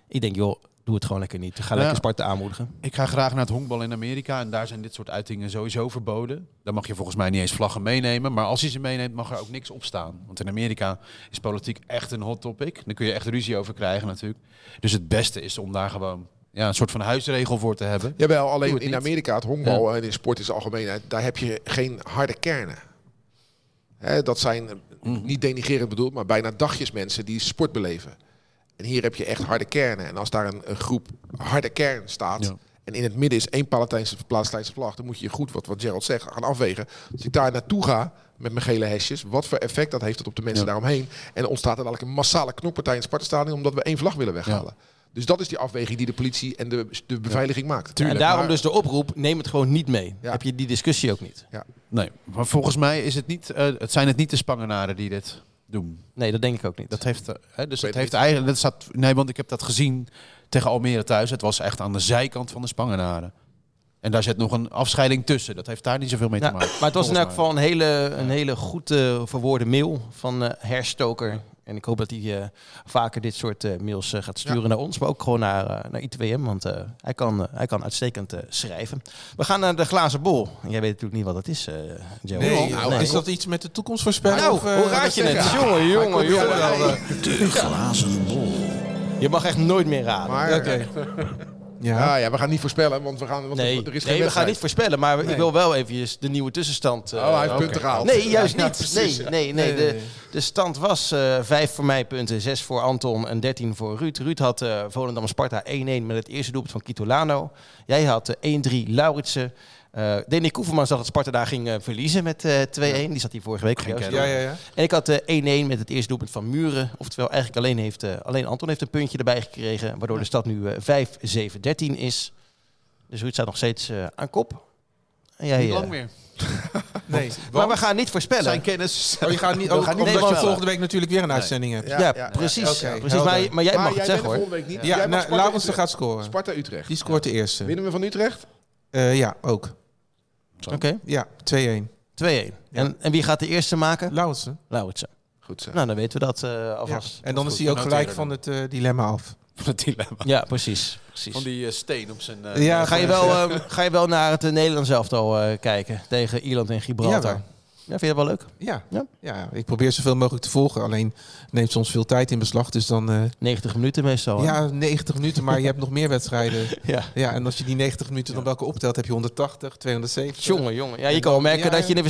C: Ik denk, joh, doe het gewoon lekker niet. Ga
F: Ja.
C: lekker Sparta aanmoedigen.
F: Ik ga graag naar het honkbal in Amerika en daar zijn dit soort uitingen sowieso verboden. Daar mag je volgens mij niet eens vlaggen meenemen, maar als je ze meeneemt mag er ook niks op staan. Want in Amerika is politiek echt een hot topic. Daar kun je echt ruzie over krijgen natuurlijk. Dus het beste is om daar gewoon ja, een soort van huisregel voor te hebben.
E: Jawel, alleen
F: Doe het
E: in
F: niet.
E: Amerika, het honkbal en in sport in zijn algemeenheid, daar heb je geen harde kernen. Hè, dat zijn, eh,
F: Mm-hmm.
E: niet denigerend bedoeld, maar bijna dagjes mensen die sport beleven. En hier heb je echt harde kernen. En als daar een, een groep harde kern staat,
F: Ja.
E: en in het midden is één Palestijnse, Palestijnse vlag, dan moet je je goed, wat, wat Gerald zegt, gaan afwegen. Als ik daar naartoe ga met mijn gele hesjes, wat voor effect dat heeft dat op de mensen
F: Ja.
E: daaromheen. En er ontstaat er dadelijk een massale knokpartij in het Sparta-stadion, omdat we één vlag willen weghalen. Dus dat is die afweging die de politie en de, de beveiliging maakt.
C: en daarom dus de oproep, neem het gewoon niet mee.
E: Ja.
C: Heb je die discussie ook niet?
F: Nee, maar volgens mij is het niet, eh, het zijn het niet de Spangenaren die dit doen.
C: Nee, dat denk ik ook niet.
F: Dat heeft, eh, hè, dus
E: weet
F: dat heeft
E: het
F: eigenlijk, dat staat, nee, want ik heb dat gezien tegen Almere thuis. Het was echt aan de zijkant van de Spangenaren. En daar zit nog een afscheiding tussen. Dat heeft daar niet zoveel mee
C: Ja,
F: te
C: maar
F: maken.
C: het was in elk
F: volgens mij.
C: geval een hele, een hele goed eh, verwoorde mail van eh, herstoker. En ik hoop dat hij eh, vaker dit soort eh, mails eh, gaat sturen naar ons, maar ook gewoon naar, eh, naar ITWM, want eh, hij, kan, eh, hij kan uitstekend eh, schrijven. We gaan naar de glazen bol. En Jij weet natuurlijk niet wat dat is, eh Joe.
D: Nee,
C: Nou,
D: is dat iets met de toekomst voorspellen?
C: nou,
D: of, eh,
C: hoe raad je
D: dat-
C: het? Jongen, jongen, jongen.
B: De glazen bol.
C: Je mag echt nooit meer raden.
E: Maar,
D: Oké. Ja.
E: ja, ja, we gaan niet voorspellen, want, we gaan, want
C: nee,
E: er
C: nee
E: is geen
C: we gaan
E: wedstrijd.
C: niet voorspellen, maar ik wil wel even de nieuwe tussenstand. eh,
E: Oh, hij heeft punten gehaald.
C: Nee, juist
E: Ja,
C: niet.
E: precies,
C: nee,
E: ja.
C: nee, nee, De, de stand was eh 5 voor mij punten, 6 voor Anton en 13 voor Ruud. Ruud had eh Volendam Sparta 1-1 met het eerste doelpunt van Kitolano. Jij had eh, 1-3 Lauritsen. Eh Danny Koeverman zag dat Sparta daar ging eh, verliezen met eh 2-1. Die zat hier vorige week. bij ons.
D: Ja, ja, ja.
C: En ik had eh, 1-1 met het eerste doelpunt van Muren. Oftewel, eigenlijk alleen, heeft, eh, alleen Anton heeft een puntje erbij gekregen. Waardoor de stad nu eh 5-7-13 is. Dus Ruud staat nog steeds eh, aan kop. En jij,
F: Niet
C: eh,
F: lang meer.
D: Nee.
C: maar we gaan niet voorspellen.
F: Zijn *laughs* kennis.
D: Oh, je gaat niet,
F: We
D: ook,
F: gaan niet
D: omdat je
F: voorspellen.
D: volgende week natuurlijk weer een uitzending hebt.
C: Ja, precies.
D: ja, oké,
C: precies. Maar,
D: helder.
C: maar jij
E: Maar
C: mag
E: jij
C: het
E: bent
C: zeggen
E: er
C: hoor.
E: volgende week niet.
D: Ja,
E: Jij mag
D: nou,
E: Sparta
D: Laurensen
E: Utrecht.
D: gaat scoren.
E: Sparta Utrecht.
D: Die scoort de eerste.
E: Winnen we van Utrecht?
D: Eh, ja, ook.
C: Oké,
D: Ja, 2-1.
C: 2-1. En, en wie gaat de eerste maken?
D: Laurensen.
C: Lauritsen.
E: Goed zo.
C: Nou, dan weten we dat eh,
D: Ja.
C: alvast.
D: En dan is hij
F: goed.
D: ook
F: Noteren
D: gelijk
F: dan.
D: van het eh, dilemma af.
F: Van het dilemma.
C: Ja, precies.
F: Van
C: precies.
F: die eh, steen op zijn. eh,
D: Ja,
C: Ga je, wel, eh, ga je wel naar het eh, Nederlands elftal eh, kijken tegen Ierland en Gibraltar?
D: Jawel.
C: Ja, vind je dat wel leuk?
D: Ja.
C: Ja?
D: Ja. ik probeer zoveel mogelijk te volgen. Alleen neemt soms veel tijd in beslag. Dus dan
C: Oh,
D: eh,
C: 90 minuten meestal. hè?
D: ja, 90 minuten, maar je hebt nog meer
C: *laughs*
D: wedstrijden.
C: ja.
D: Ja, en als je die 90 minuten dan welke optelt, heb je 180, 270.
C: Jongen, jongen. Ja, je kan wel merken
D: Ja,
C: dat
D: ja.
C: je in de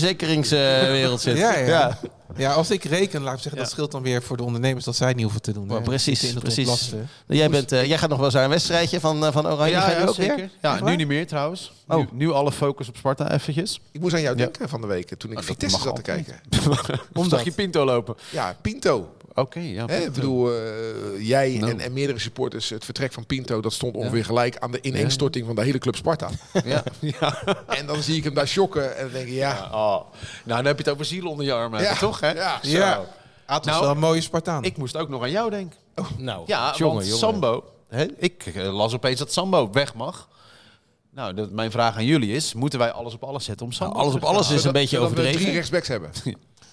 C: verzekeringswereld zit.
D: Ja, ja. Ja, als ik reken, laat ik zeggen, dat scheelt dan weer voor de ondernemers dat zij het niet hoeven te doen.
C: Maar
D: hè.
C: precies,
D: Die zitten in
C: precies.
D: het ontlasten.
C: Jij, bent, eh, jij gaat nog wel eens naar een wedstrijdje van, eh, van Oranje.
F: Ja,
C: Ga je
F: ja,
C: ook
F: zeker.
C: weer?
F: Ja,
C: Echt
F: nu
C: waar?
F: niet meer trouwens.
C: Oh.
F: Nu, nu alle focus op Sparta eventjes.
E: Ik moest aan jou
F: Ja.
E: denken van de week eh, toen ik
C: Oh,
F: dat
E: Vitesse
F: mag
E: zat te kijken.
F: Omdat je Pinto lopen.
E: Ja, Pinto.
F: Oké, ja.
E: Hè,
F: *laughs* Pinto.
E: ik bedoel, eh, jij
F: Nou.
E: en, en meerdere supporters, het vertrek van Pinto, dat stond ongeveer gelijk aan de ineenstorting van de hele club
C: *laughs*
E: Sparta.
F: Ja. ja.
E: en dan zie ik hem daar shocken en dan denk ik, ja,
F: Oh. Nou, dan heb je het over ziel onder je armen,
E: Ja.
F: toch? Hè?
E: Ja.
F: Zo.
D: Ja. Atos
F: Nou,
D: is wel een mooie Spartaan.
F: Ik moest ook nog aan jou denken. *laughs*
C: Nou,
F: Ja, want Sambo. Hè, ik eh, las opeens dat Sambo weg mag. Nou, dat, mijn vraag aan jullie is: moeten wij alles op alles zetten om Sambo?
C: Nou, alles
F: terug
C: op
F: te
C: alles
F: halen?
C: is een beetje
E: dat we drie
C: overdreven.
E: rechtsbacks
C: *laughs*
E: hebben.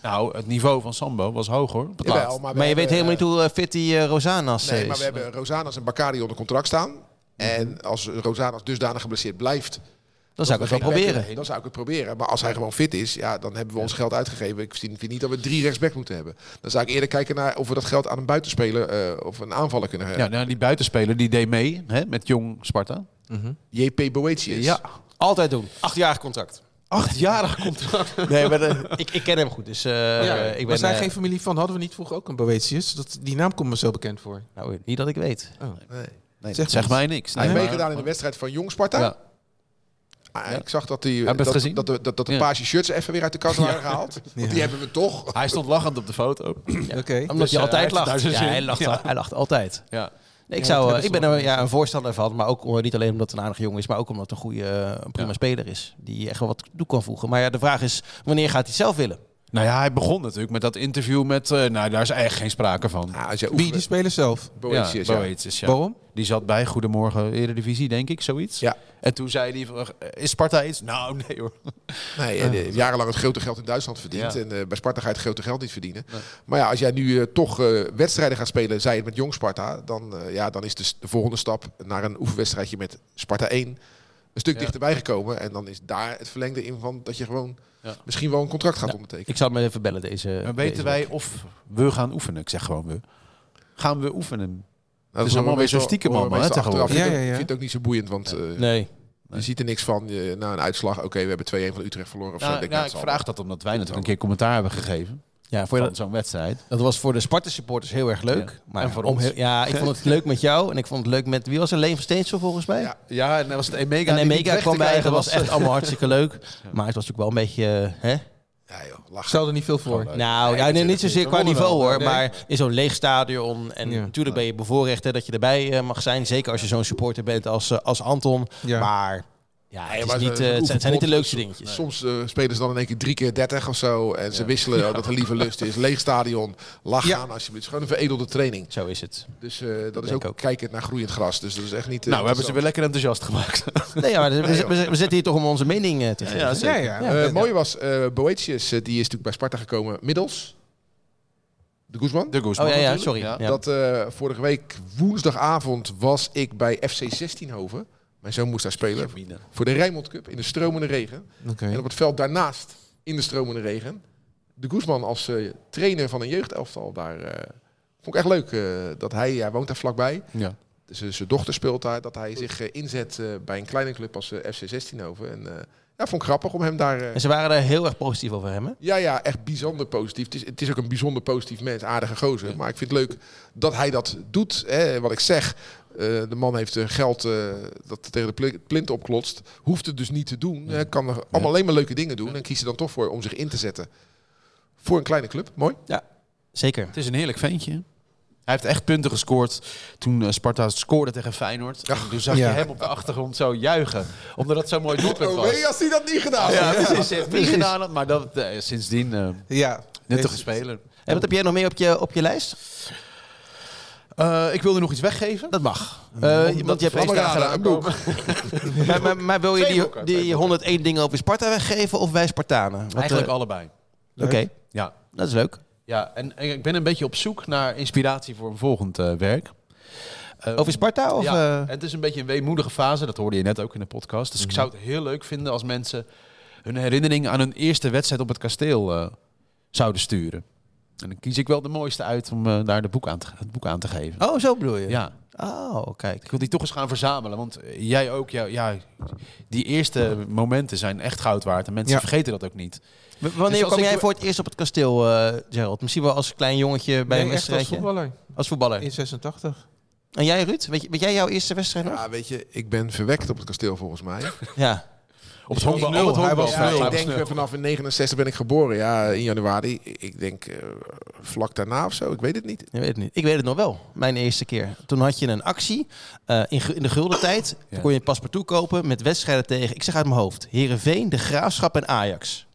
F: Nou, het niveau van Sambo was hoog hoor. Op het
E: Jawel,
F: laatst.
E: we
C: Maar je weet
E: hebben,
C: helemaal niet hoe eh, fit die eh, Rosanas
E: Nee,
C: eh,
E: maar
C: is.
E: we hebben Rosanas en Bakari onder contract staan. En als Rosanas dusdanig geblesseerd blijft...
C: Dan zou ik
E: dat
C: het wel
E: we geen
C: proberen.
E: back- Dan zou ik het proberen. Maar als hij gewoon fit is, ja, dan hebben we ons geld uitgegeven. Ik vind vind niet dat we drie rechtsback moeten hebben. Dan zou ik eerder kijken naar of we dat geld aan een buitenspeler eh, of een aanvaller kunnen
F: Ja,
E: geven.
F: nou, die buitenspeler die deed mee hè, met jong Sparta.
E: JP Boetius.
F: Ja,
C: Altijd doen. Achtjarig contract.
F: achtjarig contract.
C: *laughs* Nee, maar
F: *laughs*
C: eh, ik, ik ken hem goed. Dus eh, ik ben...
D: maar zijn
C: eh,
D: geen familie van, hadden we niet vroeger ook een Boetius? Dat, die naam komt me zo bekend voor.
C: nou, niet dat ik weet.
F: Dus, Nee,
D: Zeg
F: zeg, zeg
D: niks.
F: mij niks.
E: Hij
F: Nee,
E: heeft
F: maar-
E: meegedaan in de wedstrijd van Jong Sparta.
F: Ja.
E: Ah, ik zag dat, die,
F: Heb je
E: dat,
F: het gezien?
E: dat, de- dat, dat de
F: Ja.
E: paarse shirts even weer uit de kast waren gehaald. Want die hebben we toch.
F: Hij stond lachend op de foto.
D: Oké.
C: Omdat
F: Dus,
C: je
F: eh, hij
C: altijd
F: heeft
C: lacht.
F: daar zijn
C: Ja,
F: zin.
C: hij lacht,
F: Ja.
C: hij lacht altijd.
F: Ja.
C: Nee, ik, zou, eh, ik ben er ja, een voorstander van, maar ook eh, niet alleen omdat het een aardige jongen is, maar ook omdat het een goede, eh, een prima
F: Ja.
C: speler is. Die echt wel wat toe kan voegen. Maar ja, de vraag is, wanneer gaat hij het zelf willen?
F: Nou ja, hij begon natuurlijk met dat interview met... eh, nou, daar is echt geen sprake van.
E: Ah, als jij
D: Wie, die
E: oefent-
D: speler zelf?
E: Boetius, ja.
F: Boetius, ja.
D: Waarom?
F: Die zat bij Goedemorgen Eredivisie, denk ik, zoiets.
E: Ja.
F: En toen zei hij, van, eh, is Sparta iets? Nou, nee hoor.
E: Nee, en, eh, jarenlang het grote geld in Duitsland verdiend.
F: Ja.
E: En eh, bij Sparta ga je het grote geld niet verdienen. Maar ja, als jij nu eh, toch eh, wedstrijden gaat spelen, zij het met Jong Sparta, dan, eh, ja, dan is dus de volgende stap naar een oefenwedstrijdje met Sparta 1 een stuk dichterbij gekomen. En dan is daar het verlengde in van dat je gewoon
F: Ja.
E: misschien wel een contract
F: Nou,
E: gaat ondertekenen.
C: Ik zal hem even bellen deze *laughs*
F: Maar
C: deze
F: weten wij
C: week.
F: of we gaan oefenen? Ik zeg gewoon we. Gaan we oefenen?
E: Nou,
F: is allemaal
E: horen we
F: weer zo
E: meestal-
F: stiekem
E: horen we
F: allemaal, hè,
E: meestal achteraf.
D: tegenwoordig.
E: Ik vind
D: Ja, ja, ja.
E: het ook- vind het ook niet zo boeiend, want eh,
C: Nee.
E: je ziet er niks van. eh, na een uitslag, oké, we hebben 2-1 van Utrecht verloren. Of zo.
F: Nou,
E: denk,
F: nou,
E: nou,
F: ik
E: het zal
F: vraag dat omdat wij natuurlijk een keer commentaar hebben gegeven
C: Ja, voor
F: van
C: dat,
F: zo'n wedstrijd.
C: dat was voor de Sparta supporters heel erg leuk.
F: Ja.
C: Maar
F: En voor
C: om
F: ons.
C: heel- ja, ik vond het leuk met jou en ik vond het leuk met... Wie was er? Leen van Steensel volgens mij?
E: Ja.
F: Ja, en dan was het Emega.
C: En
F: die niet
C: Emega
F: weg te
C: kwam bij,
F: krijgen
C: dat was echt allemaal hartstikke leuk. Maar het was natuurlijk wel een beetje... eh, Hè?
E: wel. Ja, joh, lach.
D: Stel er niet veel voor.
C: Nou, ja, nee, niet zozeer qua
D: wonnen
C: niveau
D: wel.
C: hoor,
D: Nee.
C: maar in zo'n leeg stadion. En
D: Ja.
C: natuurlijk ben je bevoorrecht hè, dat je erbij eh, mag zijn. Zeker als je zo'n supporter bent als, eh, als Anton.
D: Ja.
C: Maar ja, het,
E: Nee,
C: is
E: maar
C: niet,
E: zo'n
C: eh, het zijn, het zijn niet de
E: oefenpot-
C: leukste dingetjes.
E: Soms eh, spelen ze dan in één keer drie keer 30 of zo. En ze wisselen
C: *laughs*
E: oh, dat er lieve lust is. Leeg stadion. Lach
D: Ja.
E: aan alsjeblieft. Het is gewoon een veredelde training.
C: Zo is het.
E: Dus eh, dat is
C: Denk
E: ook,
C: ook.
E: kijkend naar groeiend gras. Dus dat is echt niet. eh,
F: Nou, we hebben ze weer
E: interessant.
F: lekker enthousiast gemaakt.
C: Nee, ja, maar we, we, we zitten hier toch om onze mening eh, te geven.
F: ja,
D: Ja, ja.
E: Eh, mooi was eh Boetius, eh, die is natuurlijk bij Sparta gekomen middels. de Guzman.
F: *laughs* De Guzman
C: Oh ja, ja
F: natuurlijk,
C: sorry.
F: ja.
C: Ja.
E: Dat eh, vorige week woensdagavond was ik bij FC 16 Hoven. Mijn zoon moest daar spelen. Voor de Rijnmond Cup in de stromende regen.
D: Oké.
E: En op het veld daarnaast in de stromende regen. De Guzman als eh, trainer van een jeugdelftal daar. eh, vond ik echt leuk eh, dat hij, hij woont daar vlakbij. Dus, eh,
F: Ja.
E: Zijn zijn dochter speelt daar. Dat hij zich eh, inzet eh, bij een kleine club als eh, FC 16 Hoven. En eh, ja, vond ik grappig om hem daar... eh,
C: En ze waren daar heel erg positief over hem, hè?
E: ja, ja, echt bijzonder positief. Het is, het is ook een bijzonder positief mens, aardige gozer. Maar ik vind het leuk dat hij dat doet. Hè. Wat ik zeg, eh, de man heeft eh, geld eh, dat tegen de pli- plint opklotst. Hoeft het dus niet te doen. Hè. Kan er allemaal alleen maar leuke dingen doen. En kiest er dan toch voor om zich in te zetten. Voor een kleine club, mooi.
C: Zeker.
F: Het is een heerlijk ventje. Hij heeft echt punten gescoord toen eh, Sparta scoorde tegen Feyenoord. En toen zag
D: Ja.
F: je hem op de achtergrond zo juichen. Omdat dat zo'n mooi doelpunt was.
E: als Oh, hij dat niet gedaan
F: Oh, Ja, precies. Hij heeft niet gedaan, dat, maar dat, eh, sindsdien eh
D: Ja.
F: nuttige
D: Deze-
F: speler.
C: En wat heb jij nog meer op je, op je lijst?
F: Eh, ik wilde nog iets weggeven.
C: Dat mag. Eh, want
F: Omdat
C: je hebt
F: de
C: één vraag
F: Sparta-
C: gedaan.
E: een boek.
C: Maar, maar, maar wil je
F: Twee
C: die,
F: boeken, twee
C: die 101 dingen over Sparta weggeven of wij Spartanen? Wat,
F: Eigenlijk
C: eh,
F: allebei.
C: Oké,
F: Ja,
C: dat is leuk.
F: ja en, en ik ben een beetje op zoek naar inspiratie voor een volgend eh, werk. Eh,
C: Over Sparta? Of,
F: ja,
C: eh, Mhm.
F: en het is een beetje een weemoedige fase. Dat hoorde je net ook in de podcast. Dus ik zou het heel leuk vinden als mensen hun herinnering aan hun eerste wedstrijd op het kasteel eh, zouden sturen. En dan kies ik wel de mooiste uit om eh, daar de boek aan te, het boek aan te geven.
C: Oh, zo bedoel je?
F: Ja, Dus
C: Oh, kijk.
F: ik wil die toch eens gaan verzamelen. Want eh, jij ook, ja, ja, die eerste momenten zijn echt goud waard. En mensen
D: Ja.
F: vergeten dat ook niet.
C: W- Wanneer
F: Dus als
C: kwam
F: ik-
C: jij voor het eerst op het kasteel, eh, Gerald? Misschien wel als klein jongetje bij
D: Nee,
C: een
D: echt als
C: wedstrijdje? Als,
D: voetballer.
C: voetballer.
D: In 86.
C: En jij, Ruud? Weet, je- weet jij jouw eerste wedstrijd nog?
E: Ja, weet je, ik ben verwekt op het kasteel volgens *laughs* mij.
C: Ja.
F: Op het
E: Hij
F: honkbal.
E: was
F: op het
E: nul.
F: honkbal.
E: Ja, ik denk eh, vanaf in 69 ben ik geboren, ja, in januari. Ik denk eh, vlak daarna of zo, ik weet het niet.
C: Je weet het niet. Ik weet het nog wel. Mijn eerste keer. Toen had je een actie eh, in, gu- in de gulden tijd.
F: Ja.
C: Toen kon je een paspartout kopen met wedstrijden tegen, ik zeg uit mijn hoofd, Herenveen, De Graafschap en Ajax.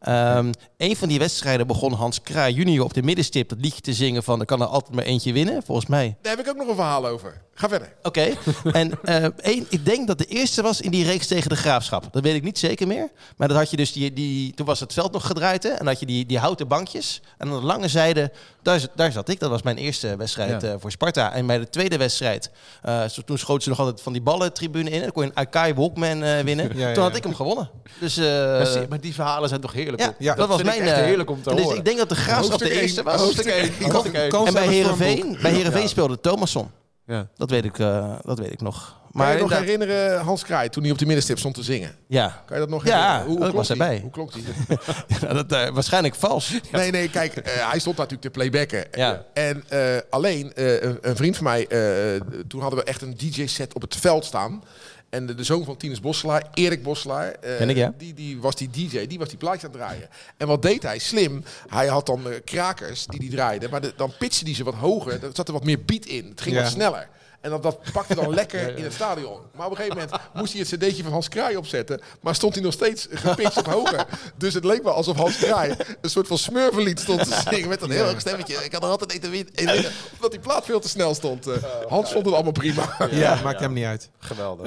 C: Ehm, een van die wedstrijden begon Hans Kraai junior op de middenstip dat liedje te zingen van er kan er altijd maar eentje winnen. Volgens mij
E: Daar heb ik ook nog een verhaal over. Ga verder.
C: Oké. En eh, één, ik denk dat de eerste was in die reeks tegen de graafschap. Dat weet ik niet zeker meer. Maar dat had je dus die, die, toen was het veld nog gedraaid. Hè? En dan had je die, die houten bankjes. En aan de lange zijde, daar, z- daar zat ik. Dat was mijn eerste wedstrijd
F: Ja.
C: eh, voor Sparta. En bij de tweede wedstrijd, eh, zo- toen schoten ze nog altijd van die ballen tribune in. Dan kon je een Akai Walkman
F: *laughs*
C: eh, winnen.
D: Ja, ja,
C: Toen
D: ja.
C: had ik hem gewonnen. Dus eh,
F: Maar zie- Maar die verhalen zijn toch heerlijk.
C: ja,
F: op-
D: Ja,
C: dat, was
F: vind ik
C: mijn...
F: echt
C: eh,
F: heerlijk om te
C: dus
F: horen.
C: ik denk dat de graafschap de
E: één.
C: eerste was.
E: Hoofdstuk één.
F: Hoofdstuk één.
D: Kans
C: En bij
D: hebben we voor een
C: Herenveen, bij Heerenveen
F: Ja.
C: speelde Thomasson.
F: Ja.
C: Dat weet ik, eh, dat weet ik nog.
E: Maar
C: Maar
E: je nog
C: inderdaad-
E: herinneren Hans Kraai toen hij op de middenstip stond te zingen?
C: ja.
E: Kan je dat nog
C: Ja,
E: herinneren?
C: oh, ik was
E: hij?
C: erbij.
E: Hoe klonk hij?
C: *laughs* Ja, dat, eh, waarschijnlijk vals.
E: *laughs* Nee, nee, kijk, eh, hij stond daar natuurlijk te playbacken.
C: Ja.
E: En eh, alleen, eh, een, een vriend van mij, eh, toen hadden we echt een DJ-set op het veld staan. En de, de zoon van Tinus Bosselaar, Erik Bosselaar, eh,
C: Ken ik, ja.
E: die, die was die DJ, die was die plaatjes aan het draaien. En wat deed hij? Slim. Hij had dan eh, krakers die die draaiden, maar de- dan pitste die ze wat hoger. Er zat er wat meer beat in. Het ging
D: Ja.
E: wat sneller. En dat, dat pakte
D: *laughs*
E: dan lekker in het stadion. Maar op een gegeven moment moest hij het cd'tje van Hans Kraai opzetten. Maar stond hij nog steeds gepitcht op hoger. Dus het leek wel alsof Hans Kraai een soort van smurvenlied stond te zingen. Met een heel hoog stemmetje. Ik had er altijd eten win. één winnen, Omdat die plaat veel te snel stond. Eh, Hans vond het allemaal prima.
D: Oh, Ja, maakt hem niet uit.
F: Geweldig.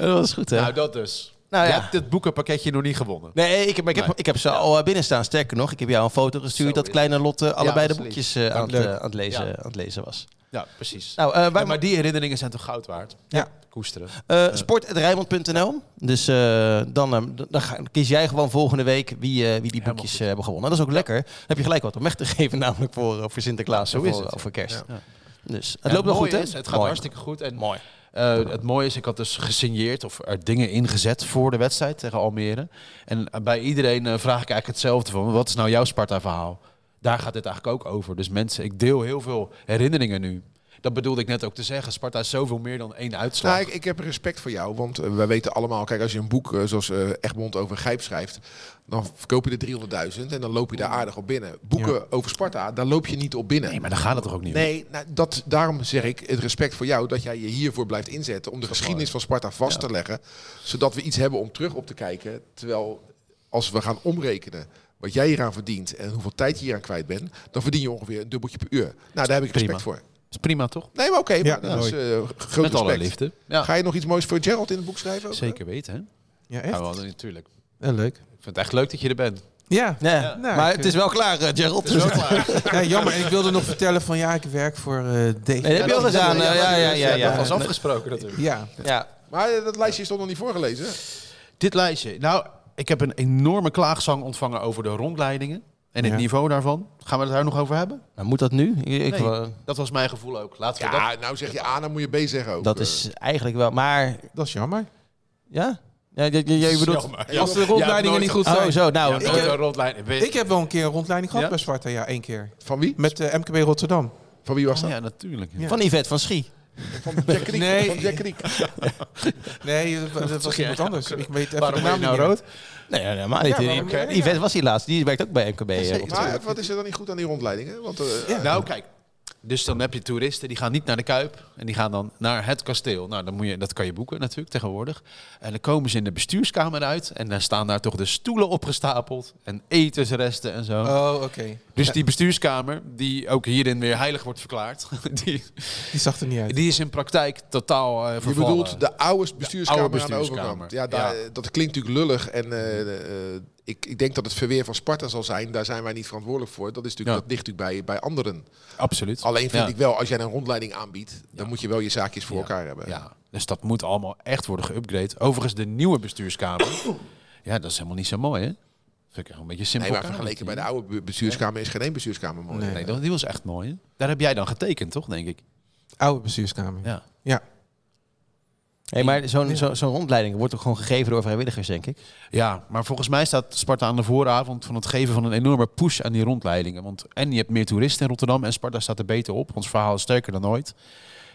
C: *laughs* Dat was goed, hè?
F: Nou, dat dus.
C: Nou
F: Je
C: ja.
F: hebt dit boekenpakketje nog niet gewonnen.
C: nee, ik heb, maar ik, heb,
F: Nee.
C: ik heb ze al eh, binnen staan. Sterker nog, ik heb jou een foto gestuurd
F: Zo
C: dat
F: is
C: kleine Lotte allebei de
F: precies.
C: boekjes eh, aan, het,
D: leuk.
C: eh, aan, het lezen,
F: Ja.
C: aan het lezen was.
F: Ja, precies.
C: Nou, eh, wij
F: Ja, maar die herinneringen zijn toch goud waard?
D: Ja.
F: Koesteren.
C: eh sport.rijmond.nl. Dus eh, dan, eh, d- dan ga- kies jij gewoon volgende week wie, eh, wie die boekjes eh, hebben gewonnen. Dat is ook lekker. Dan heb je gelijk wat om weg te *laughs* geven, namelijk voor, eh, voor Sinterklaas
F: Zo
C: of
F: is
C: voor,
F: het,
C: of voor kerst.
F: Ja.
C: Dus het
F: Ja,
C: loopt wel
F: mooie
C: goed, hè?
F: is, het gaat
C: Mooi.
F: hartstikke goed. En
C: Mooi.
F: eh, het mooie is, ik had dus gesigneerd of er dingen ingezet voor de wedstrijd tegen Almere. En bij iedereen eh, vraag ik eigenlijk hetzelfde van, wat is nou jouw Sparta-verhaal? Daar gaat dit eigenlijk ook over. Dus mensen, ik deel heel veel herinneringen nu. Dat bedoelde ik net ook te zeggen. Sparta is zoveel meer dan één uitslag.
E: Nou, ik, ik heb respect voor jou, want eh, wij weten allemaal, kijk, als je een boek eh, zoals eh, Egmond over Gijp schrijft, dan verkoop je er 300.000 en dan loop je daar aardig op binnen. Boeken over Sparta, daar loop je niet op binnen.
F: Nee, maar daar gaat het toch ook niet om?
E: Nee, nou, dat, daarom zeg ik het respect voor jou dat jij je hiervoor blijft inzetten om de geschiedenis van Sparta vast te leggen, zodat we iets hebben om terug op te kijken. Terwijl als we gaan omrekenen wat jij hieraan verdient en hoeveel tijd je hieraan kwijt bent, dan verdien je ongeveer een dubbeltje per uur. Nou, daar heb ik respect
F: Prima.
E: voor.
F: Is prima toch?
E: Nee, maar oké, maar
D: Ja,
E: dat is eh, groot respect.
F: Met alle liefde. Ja,
E: Ga je nog iets moois voor Gerald in het boek schrijven? ook?
F: zeker weten. Hè?
D: Ja,
F: Ja,
D: echt?
F: wel, natuurlijk.
D: Ja, leuk.
F: Ik vind het echt leuk dat je er bent.
D: Ja.
C: Ja.
D: Nou,
C: maar
D: ik,
C: het is wel klaar, eh, Gerald. Dus-
D: *laughs* ja, jammer. En ik wilde nog vertellen van ja, ik werk voor eh deze.
C: Nee, dat heb je al gedaan. eh, Ja, ja, ja.
F: dat
C: ja,
F: was afgesproken natuurlijk.
D: Ja.
C: Ja.
E: Maar eh, dat lijstje is toch nog niet voorgelezen?
F: Dit lijstje. Nou, ik heb een enorme klaagzang ontvangen over de rondleidingen. En het
D: Ja.
F: niveau daarvan. Gaan we het daar nog over hebben?
C: Maar Nou, moet dat nu? Ik- Ik,
F: Nee.
C: wou-
F: Dat was mijn gevoel ook. Laten we dat...
E: Ja, nou zeg je A, dan moet je B zeggen ook.
C: dat
E: eh.
C: is eigenlijk wel... Maar,
D: Dat is jammer.
C: ja? Ja, je, je, je bedoelt...
D: Als de rondleidingen niet goed zijn.
C: Oh, zo. Nou,
F: ik
D: nooit
F: heb
D: een
F: een rondleiding.
D: Ik heb wel een keer een rondleiding gehad
F: Ja?
D: bij Sparta, ja, één keer.
E: Van wie?
D: Met eh, MKB Rotterdam.
E: Van wie was dat?
F: Ja, natuurlijk. Ja.
C: van Yvette van Schie.
E: Van Jack Kriek.
D: Nee.
E: Van Jack Kriek.
D: Nee, dat, dat was iemand anders. Ik weet even
F: Waarom
D: de
F: ben
D: naam
F: je
D: niet
F: nou
D: meer.
F: rood?
C: Nee, nee, nee, maar niet. Yvette was hier laatst. Die werkt ook bij MKB. eh, op-
E: Maar wat is er dan niet goed aan die rondleidingen? Want, eh,
F: Nou, kijk. Dus dan heb je toeristen, die gaan niet naar de Kuip. En die gaan dan naar het kasteel. Nou, dan moet je, dat kan je boeken natuurlijk tegenwoordig. En dan komen ze in de bestuurskamer uit. En daar staan daar toch de stoelen opgestapeld. En etensresten en
E: Eh,
F: zo.
D: Oh, oké.
F: dus die bestuurskamer, die ook hierin weer heilig wordt verklaard. *laughs* Die,
D: Die zag er niet uit.
F: die is in praktijk totaal eh
E: je
F: vervallen.
E: bedoelt de oude bestuurskamer,
F: oude
E: aan de
F: bestuurskamer.
E: overkant. Ja, daar, eh, dat klinkt natuurlijk lullig. En eh, eh, ik, ik denk dat het verweer van Sparta zal zijn. Daar zijn wij niet verantwoordelijk voor. Dat, is natuurlijk,
F: Ja.
E: dat ligt natuurlijk bij, bij anderen.
F: Absoluut.
E: Alleen vind
F: Ja.
E: ik wel, als jij een rondleiding aanbiedt, dan moet je wel je zaakjes voor elkaar hebben.
F: Ja, dus dat moet allemaal echt worden geüpgrade. Overigens, de nieuwe
E: *coughs*
F: bestuurskamer. ja, dat is helemaal niet zo mooi, hè? Vind ik echt een beetje simpel.
E: Nee, maar
F: kamertje.
E: vergeleken bij de oude bu- bestuurskamer is geen één bestuurskamer mooi.
F: Nee, dat, die was echt mooi. Hè? Daar heb jij dan getekend, toch, denk ik?
D: Oude bestuurskamer.
F: Ja.
D: Ja.
C: Hey, maar zo'n zo, zo'n rondleiding wordt toch gewoon gegeven door vrijwilligers, denk ik?
F: Ja, maar volgens mij staat Sparta aan de vooravond van het geven van een enorme push aan die rondleidingen. Want en je hebt meer toeristen in Rotterdam en Sparta staat er beter op. Ons verhaal is sterker dan ooit.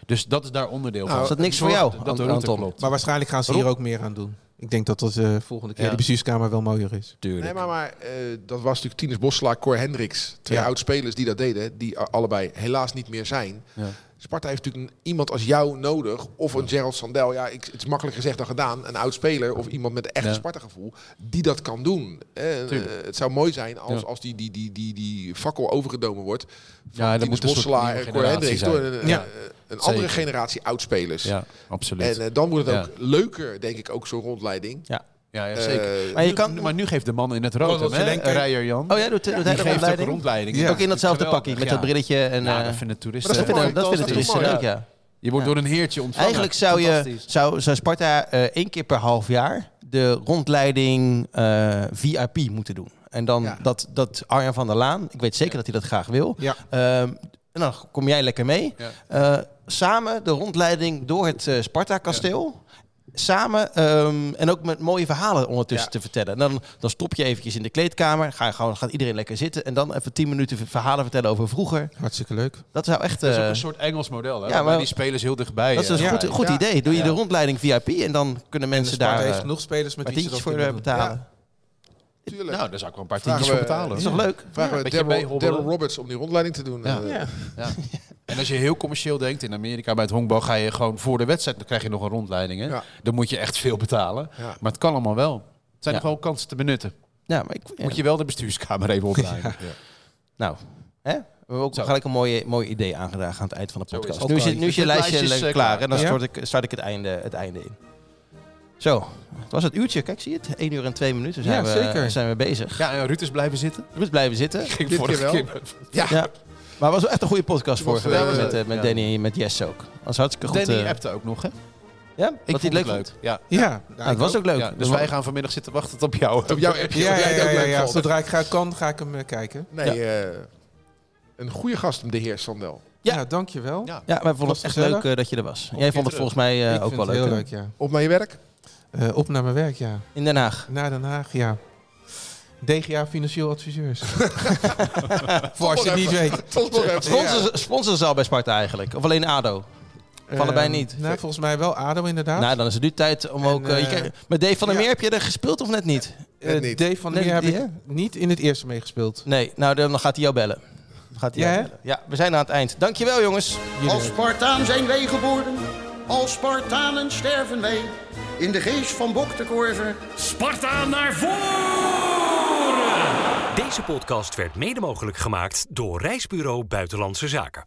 F: Dus dat is daar onderdeel van.
C: is dat niks voor jou,
F: Nou, Dat de
C: Ant-
F: route
C: Anton?
F: klopt.
D: Maar waarschijnlijk gaan ze hier ook meer aan doen. Ik denk dat dat de volgende keer
F: Ja.
D: de bestuurskamer wel mooier is.
E: Nee, maar, maar eh, dat was natuurlijk Tinus Bosselaar, Cor Hendricks. Twee
D: Ja.
E: oud-spelers die dat deden, die a- allebei helaas niet meer zijn.
F: Ja.
E: Sparta heeft natuurlijk een- iemand als jou nodig. Of een Gerald Sandel. Ja, ik, het is makkelijk gezegd dan gedaan. Een oud-speler of iemand met echt
F: Ja.
E: een Sparta-gevoel. Die dat kan doen. En,
F: Tuurlijk.
E: eh, het zou mooi zijn als,
F: Ja.
E: als die, die, die, die, die fakkel overgedomen wordt.
F: Ja,
E: Van
F: dat
E: Tinus
F: moet een soort
E: Bosselaar
F: nieuwe
E: en Cor Hendricks. Door
F: generatie zijn.
E: een, een-
D: Ja.
E: een andere
F: Zeker.
E: generatie oudspelers.
F: Ja,
E: En
F: absoluut.
E: eh, dan wordt het
F: Ja.
E: ook leuker, denk ik, ook zo'n rondleiding.
F: ja, ja, zeker.
E: Eh,
C: Maar je
F: Nu-
C: kan-
F: maar nu geeft de man in het rood
D: Ronald
F: hem, hè?
D: Zelenko.
F: Rijer Jan.
C: Oh, jij doet, doet hij
F: die
C: de
F: geeft ook
C: rondleiding?
F: rondleiding.
D: Ja.
C: Ook in datzelfde
F: Geweldig,
C: pakje, met
F: ja.
C: dat brilletje. En,
F: Ja,
C: eh,
F: dat vinden toeristen.
C: dat vinden-
E: mooi,
C: dat
E: dat
C: vinden
E: is toch
C: toeristen
E: mooi,
C: leuk, ja.
F: Je wordt door een heertje ontvangen.
C: Eigenlijk zou, je,
F: Fantastisch.
C: zou, zou Sparta eh, één keer per half jaar de rondleiding eh, VIP moeten doen. En dan
E: Ja.
C: dat, dat Arjan van der Laan, ik weet zeker dat hij dat graag wil.
D: Ja.
C: Ehm, en dan kom jij lekker mee.
F: Ja.
C: Eh, samen de rondleiding door het eh, Sparta-kasteel. Samen ehm, en ook met mooie verhalen ondertussen te vertellen. En dan, dan stop je eventjes in de kleedkamer. Ga, gewoon gaat iedereen lekker zitten. En dan even tien minuten verhalen vertellen over vroeger.
D: Hartstikke leuk.
C: Dat zou echt.
F: Dat is ook
C: eh,
F: een soort Engels model, hè?
C: ja,
F: waarbij
C: maar-
F: die spelers heel dichtbij.
C: dat is een
F: eh,
C: goed,
F: rijden.
C: goed
E: Ja.
C: idee. Doe je de rondleiding VIP en dan kunnen mensen
D: Sparta
C: daar eh,
D: heeft genoeg spelers met
C: maar
D: wie ze dat
C: tientjes voor
D: kunnen
C: eh,
D: doen.
C: betalen.
E: tuurlijk.
F: Nou, daar zou ik wel een paar
E: Vragen
F: tientjes voor
E: we-
F: betalen.
C: Dat is toch leuk?
E: Vragen
F: een
E: we
F: beetje
E: Daryl-
F: meehobbelen.
E: Daryl Roberts om die rondleiding te doen. eh,
F: Ja. En als je heel commercieel denkt, in Amerika bij het honkbal ga je gewoon voor de wedstrijd, dan krijg je nog een rondleiding. Hè?
E: Ja.
F: Dan moet je echt veel betalen.
E: Ja.
F: Maar het kan allemaal wel. Het zijn
C: Ja.
F: nog wel kansen te benutten.
C: Ja, maar ik, ja.
F: Moet je wel de bestuurskamer
C: *laughs*
F: even opleiden. Ja.
C: Nou, hè? we hebben ook
F: Zo.
C: gelijk een mooie, mooi idee aangedragen aan het eind van de
F: Zo is
C: podcast.
F: het.
C: Nu is, je-
F: Oké.
C: nu is je
F: Dit
C: lijstje,
F: lijstje is,
C: klaar
F: eh, klaar.
C: en dan
D: Ja?
C: start, ik, start ik het einde, het einde in. Zo, het was het uurtje. Kijk, zie je het? 1 uur en 2 minuten zijn,
D: Ja,
C: we,
D: zeker.
C: zijn we bezig.
F: Ja, en Ruud is blijven zitten.
C: Je moet blijven
F: *laughs*
C: zitten.
F: Ging
E: Dit keer wel.
C: Ja. Maar het was wel echt een goede podcast
E: Het was,
C: vorige week
E: eh,
C: met, eh, met
F: ja.
C: Danny en met Jess ook. Dat was hartstikke goed.
F: Danny
C: eh,
F: appte ook nog, hè?
C: ja, ik
F: Ik
C: vond het leuk. vond.
F: Ja.
D: Ja,
C: Nou, het was ook leuk.
F: Ja, dus wij gaan vanmiddag zitten wachten tot op jou.
E: Op jouw appje.
D: Ja,
E: of
D: ja,
E: jij het
D: ja,
E: ook
D: ja,
E: leuk
D: ja.
E: vond.
D: Zodra ik ga kan, ga ik hem eh, kijken.
E: Nee, eh, een goede gast, de heer Sandel.
C: Ja.
D: Ja, dankjewel.
F: Ja.
C: Ja, wij vonden
D: Was
C: het echt leuk
D: gezellig.
C: eh, dat je er was. Jij vond het
F: terug.
C: volgens mij eh,
D: ik
C: ook
D: vind
C: wel
D: het
C: leuk.
D: heel
C: hè?
D: leuk, ja.
E: Op naar je werk.
D: Eh, op naar mijn werk, ja.
C: In Den Haag.
D: Naar Den Haag, ja. DGA Financieel Adviseurs. Voor als je het niet weet.
E: Tot nog even.
C: Sponsors, sponsors al bij Sparta eigenlijk? Of alleen ADO? Van allebei
D: Ehm,
C: niet.
D: Nou, volgens mij wel ADO inderdaad.
C: Nou, dan is het nu tijd om
D: En,
C: ook... eh, je
D: eh,
C: kijkt- met Dave van der
D: ja.
C: Meer heb je er gespeeld of net niet?
D: Eh,
E: Net niet.
D: Dave van der
C: Net
D: Meer heb
C: niet,
D: ik niet in het eerste meegespeeld.
C: Nee, nou dan gaat hij jou bellen. Dan Gaat hij
D: Ja,
C: jou
D: hè?
C: bellen. ja, we zijn aan het eind. Dankjewel jongens.
I: Als Spartaan zijn wij geboren, als Spartanen sterven wij. In de geest van Bok de Korver
B: Sparta naar voren!
A: Deze podcast werd mede mogelijk gemaakt door Reisbureau Buitenlandse Zaken.